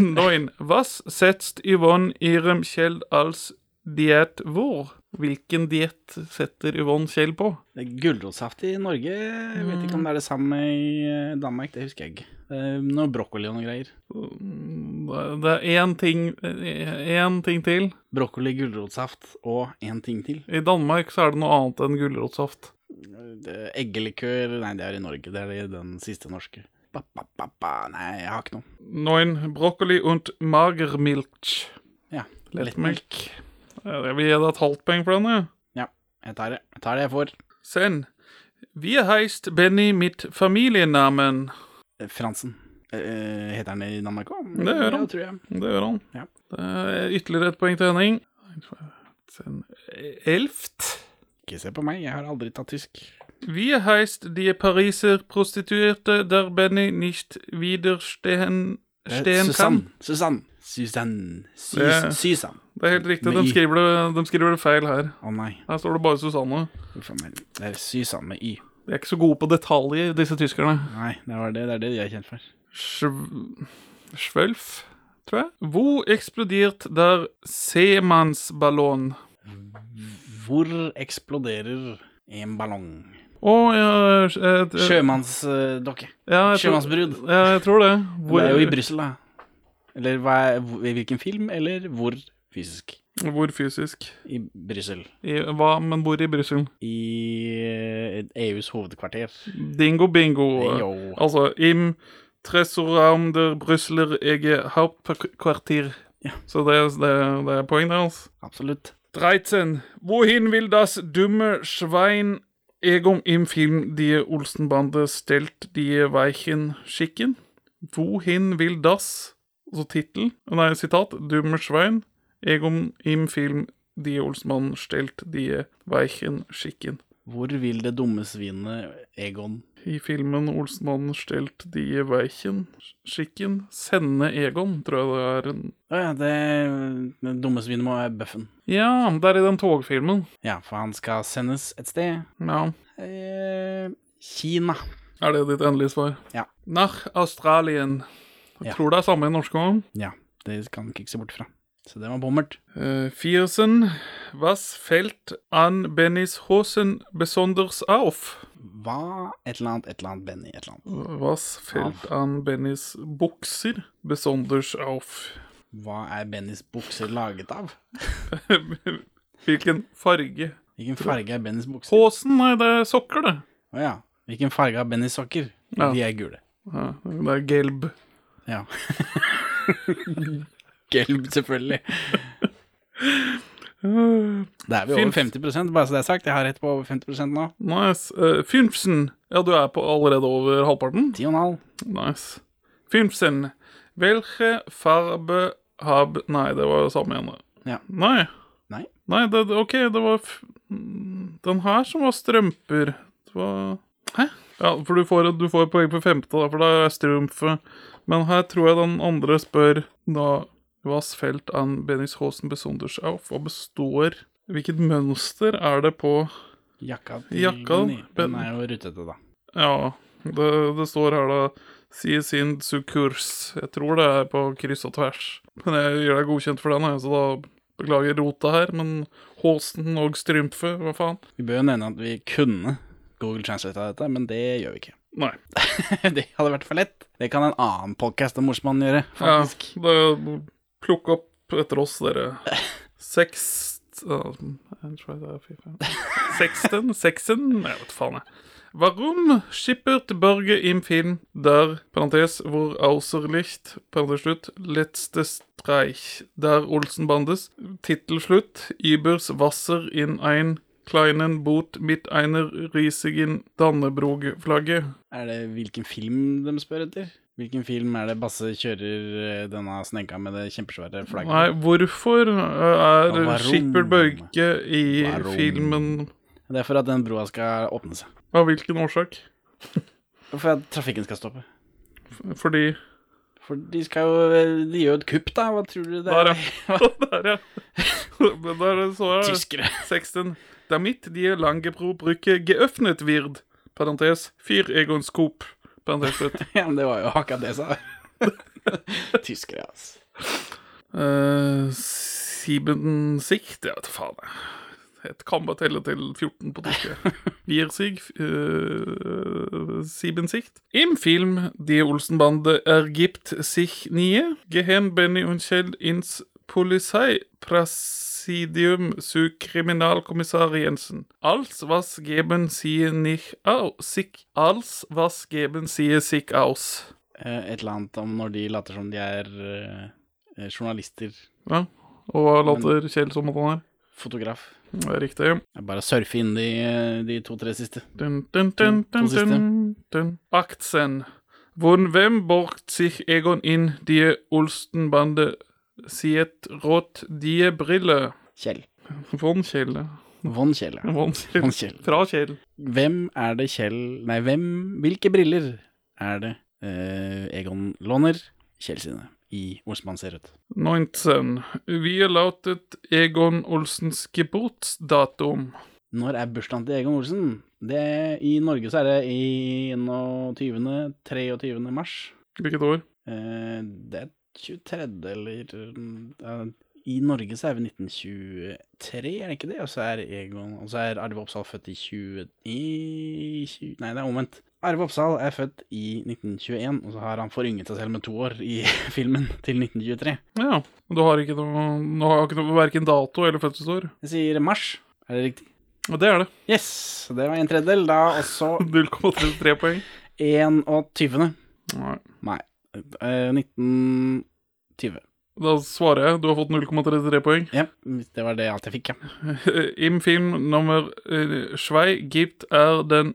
neun. Was setzt Yvonne ihrem Kjeld als diett vor? Hvilken diett setter Yvonne Kjell på?
Det er Gulrotsaft i Norge. Jeg vet ikke om det er det samme i eh, Danmark. Det husker jeg ikke. Eh, Noe brokkoli og noe greier.
Mm, Det er én ting Én ting til.
Brokkoli, gulrotsaft og én ting til.
I Danmark så er det noe annet enn gulrotsaft.
Det er Eggelikør Nei, det er i Norge. Det er i den siste norske. Ba, ba, ba, ba. Nei, jeg har ikke noe.
Neun. Brokkoli und magermilch.
Ja,
Lettmelk. Ja, Jeg vil gi deg et halvt poeng for den, jeg.
Ja, jeg tar det. Jeg tar det jeg får.
Sen. Wie heißt Benny mit Familiennamen?
Eh, Fransen. Eh, heter han det i Danmark òg?
Det gjør han.
Ja, tror jeg.
Det gjør han.
Ja.
Det er ytterligere et poeng til Henning. Sen. Elft.
Ikke se på meg, jeg har aldri tatt tysk.
Wie heißt die Pariser Prostituierte, der Benny nicht widerstehen
Eh,
stehen
Susann.
kann?
Susann. Susann. Sus
Det-
Susann.
Det er helt riktig.
Med
De
i.
skriver det, de skriver det feil her.
Å nei.
Her står det bare Susanne.
Uff a meg. Det er Susann med Y.
De er ikke så gode på detaljer, disse tyskerne.
Nei, det var det. Det er det de er kjent for.
Schw- Schwölf, tror jeg. Hvor eksplodert der seemannsballon?
Hvor eksploderer en ballong?
Å, ja, eh, eh,
Sjømannsdokke.
ja, jeg tror-
sjømannsbrud.
Ja, jeg tror det.
Det er jo i
Hvor,
Brussel, da. Eller hva er, hvor- i hvilken film, eller hvor fysisk?
Hvor fysisk?
I Brussel.
Hva, men hvor i Brussel?
I eh, EUs hovedkvarter.
Dingo bingo.
Jo.
Altså im tresoram der Brüsseler ege hauptquartier. Så det, er- det, er- det er poenget hans.
Absolutt.
13. Wohin will das dumme Schwein Egon im Film Die Olsenbande stelt die Weichen schicken? Wohin will das Altså tittel Nei, sitat. Dumme Schwein Egon im Film Die Olsenbande stelt die Weichen schicken.
Hvor vil det dumme svinet Egon
I filmen Olsenbanden stelt die Weichen schicken sende Egon, tror jeg det er. en-
Å ja, det, det dumme svinet må være Bøffen.
Ja, det er i den togfilmen.
Ja, for han skal sendes et sted.
Ja.
Eh, Kina.
Er det ditt endelige svar?
Ja.
Nach Australien.
Ja.
Jeg tror det er samme i norsk òg.
Ja, det kan man ikke se bort fra. Så det var bommert.
Uh, Viersen. Was fällt an Bennys Hosen besonders auf?
Hva? Et eller annet, et eller annet, Benny, et eller annet.
Was fällt an Bennys bukser besonders auf?
Hva er Bennys bukser laget av?
Hvilken farge?
Hvilken farge er Bennys bukser?
Hosen? Nei, det er sokker, det.
Å ja. Hvilken farge har Bennys sokker?
Ja.
De er gule.
Ja, det er gelb.
Ja. Gelb, selvfølgelig. Da er vi over
Fint.
50 bare så det er sagt. Jeg har rett på over 50 nå.
Nice. Uh, Fymsen. Ja, du er på allerede over halvparten?
10,5.
Nice. Fymsen. Hvilke farbe hab... Nei, det var jo samme igjen. da.
Ja.
Nei.
Nei.
Nei, det, det- OK, det var f mm, den her som var strømper. Det var Hæ? Ja, for du får, du får poeng på femte, da, for da er strømfe. Men her tror jeg den andre spør da Was felt an Benningshosen besonders auf? Hva består Hvilket mønster er det på
Jakka til
Jakka,
Benny. Den
Benny.
er jo rutete, da.
Ja, det, det står her da Si sin sukurs. Jeg tror det er på kryss og tvers. Men jeg gir deg godkjent for den, jeg, så da beklager rotet her. Men Håsen og Strymfe, hva faen?
Vi bør jo nevne at vi kunne Google Translate av dette, men det gjør vi ikke.
Nei.
det hadde vært for lett. Det kan en annen podkast om Morsmann gjøre,
Ja,
faktisk.
det, plukk opp etter oss, dere. Seks... Uh, Seksten? Seksen? Nei, Jeg vet faen, jeg. Warum schippert Børge im Film der, parentes, hvor auserlicht, parentes slutt, letzte streich, der Olsenbandes, tittelslutt, übers Wasser in ein kleinen Boot mit einer riesigen Dannebrog-flagge.
Er det hvilken film de spør etter? Hvilken film er det Basse kjører eh, denne sneika med det kjempesvære
Nei,
flagget?
hvorfor uh,
Ja,
er
varom.
Skipper Børge i
Varom.
filmen
Det er for at den broa skal åpne seg.
Av hvilken årsak?
For at trafikken skal stoppe.
Fordi
For de skal jo eh, De gjør jo et kupp, da. Hva tror du det
Der,
er?
ja. Der, ja. Men Der så øh, er
Tyskere.
16. Damit die Langebro-brücke geöffnet wird, parentes, fyr Egons Coop, parentes slutt.
Ja, men det var jo akkurat det jeg sa. Tyskere, altså.
Eh, Sieben Sicht, jeg vet faen jeg. Jeg kan bare telle til 14 på tyske. Wir sig, eh, Sieben Sicht. Im Film Die Olsenbande ergibt sich nie. Gehen Benny und Kjell ins Polizeipräsidium zu Kriminalkommissar Jensen. Als was geben sie nicht au, sich, als was geben sie sich aus?
Eh, Et eller annet om når de later som de er eh, journalister,
Ja, og hva later Kjell som at han er?
fotograf.
Det er Riktig.
Det er bare å surfe inn de, eh, de to-tre siste.
Dun, dun, dun,
To-
dun,
to siste.
dun, dun. 18. Von wem borgt sich Egon in die Ulstenbande siet rot die Brille?
Kjell.
Von Kjell.
Von Kjell, ja.
Von Kjell.
Von Kjell.
Fra Kjell.
Hvem er det Kjell Nei, hvem Hvilke briller er det eh, Egon låner Kjell sine i Olsmann ser ut?
19. Wie lautet Egon Olsens Geburtsdatum?
Når er bursdagen til Egon Olsen? Det, I Norge så er det i 21. 23. mars.
Hvilket år?
Eh, det er 23. eller eh, I Norge så er vi 1923, er det ikke det? Og så er Egon Og så er Arve Oppsal født i 20... I, 20 nei, det er omvendt. Arve Oppsal er født i 1921, og så har han forynget seg selv med to år i filmen til 1923.
Ja, men du har ikke noe, du har ikke noe verken dato eller fødselsår.
Jeg sier mars. Er det riktig?
Og det er det.
Yes! Det var en tredjedel. Da også
0,33 poeng.
21.
Nei.
Nei. Eh, 1920.
Da svarer jeg. Du har fått 0,33 poeng.
Ja, det var det alt jeg fikk, ja.
Im Film nummer eh, Schwei gibt er den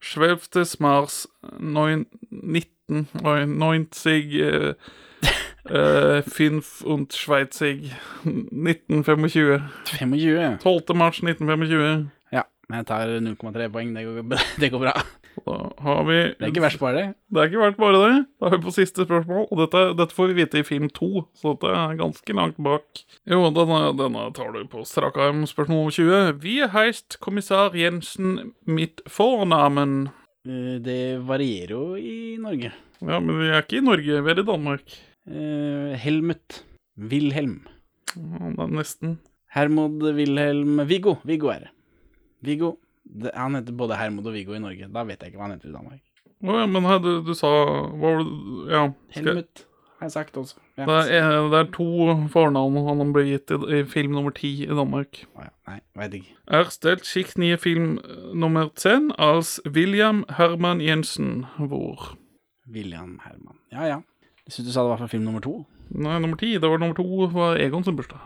12. Mars neun- 1990 eh, eh, Finf und Schweizig 1925.
25. ja.
12. mars 1925.
Ja, men jeg tar 0,3 poeng. Det går, det går bra.
Da har vi
Det er ikke verst, bare det.
Det er ikke verdt bare det. Da er vi på siste spørsmål, og dette, dette får vi vite i film to, så dette er ganske langt bak. Jo, denne, denne tar du på strak arm, spørsmål nummer 20. Wie heist kommissær Jensen mitt fornamen?
Eh, Det varierer jo i Norge.
Ja, men vi er ikke i Norge, vi er i Danmark.
Eh, Helmut. Wilhelm.
Ja, det er nesten.
Hermod Wilhelm Viggo. Viggo er det. Viggo. Det, han heter både Hermod og Viggo i Norge. Da vet jeg ikke hva han heter i Danmark.
Å ja, men her, du, du sa Hva var det Ja. skal jeg-
Helmut har jeg sagt også. Ja.
Det er, eh, det er to fornavn han ble gitt i, i film nummer ti i Danmark.
Å ja. Nei, veit ikke.
Erstellt schick nye Film äh, Nummer 10 als William Hermann Jensen. Hvor?
William Herman. Ja ja. Jeg syns du sa det var fra film nummer to.
Nei, nummer 10. Det var nummer 2 var Egon sin bursdag.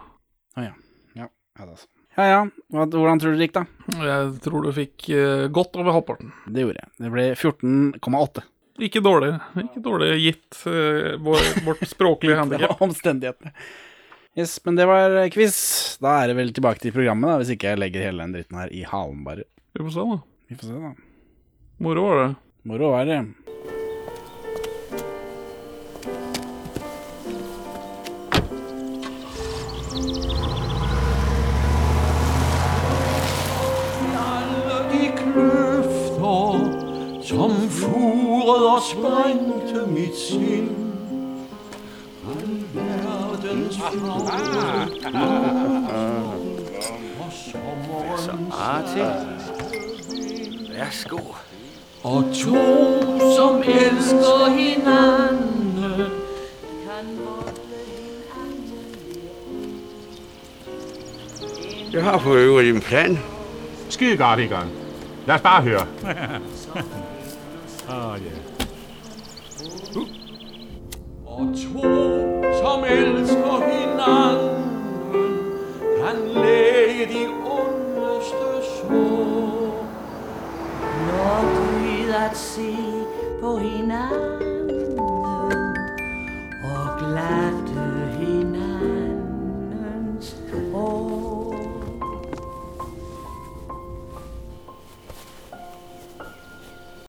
Å ja. Ja, ja, det altså. ja. ja. Hva, hvordan tror du det gikk, da?
Jeg tror du fikk eh, godt over halvparten.
Det gjorde jeg. Det ble 14,8.
Ikke dårlig. Ikke dårlig gitt eh, vår, vårt språklige
Det
handikap.
var omstendighetene. Yes, men det var eh, quiz. Da er det vel tilbake til programmet, da, hvis ikke jeg legger hele den dritten her i halen, bare.
Vi får se, da.
Vi får se, da.
Moro var det.
Moro er det.
alle de kløfter, som furet og sprengte mit sind. All verdens flotte og sommerens
Værsgo.
Og to, som elsker hinanden,
Jeg har for øvrigt en plan.
Skide godt, Egon. Lad os bare høre. Åh, ja.
som elsker hinanden.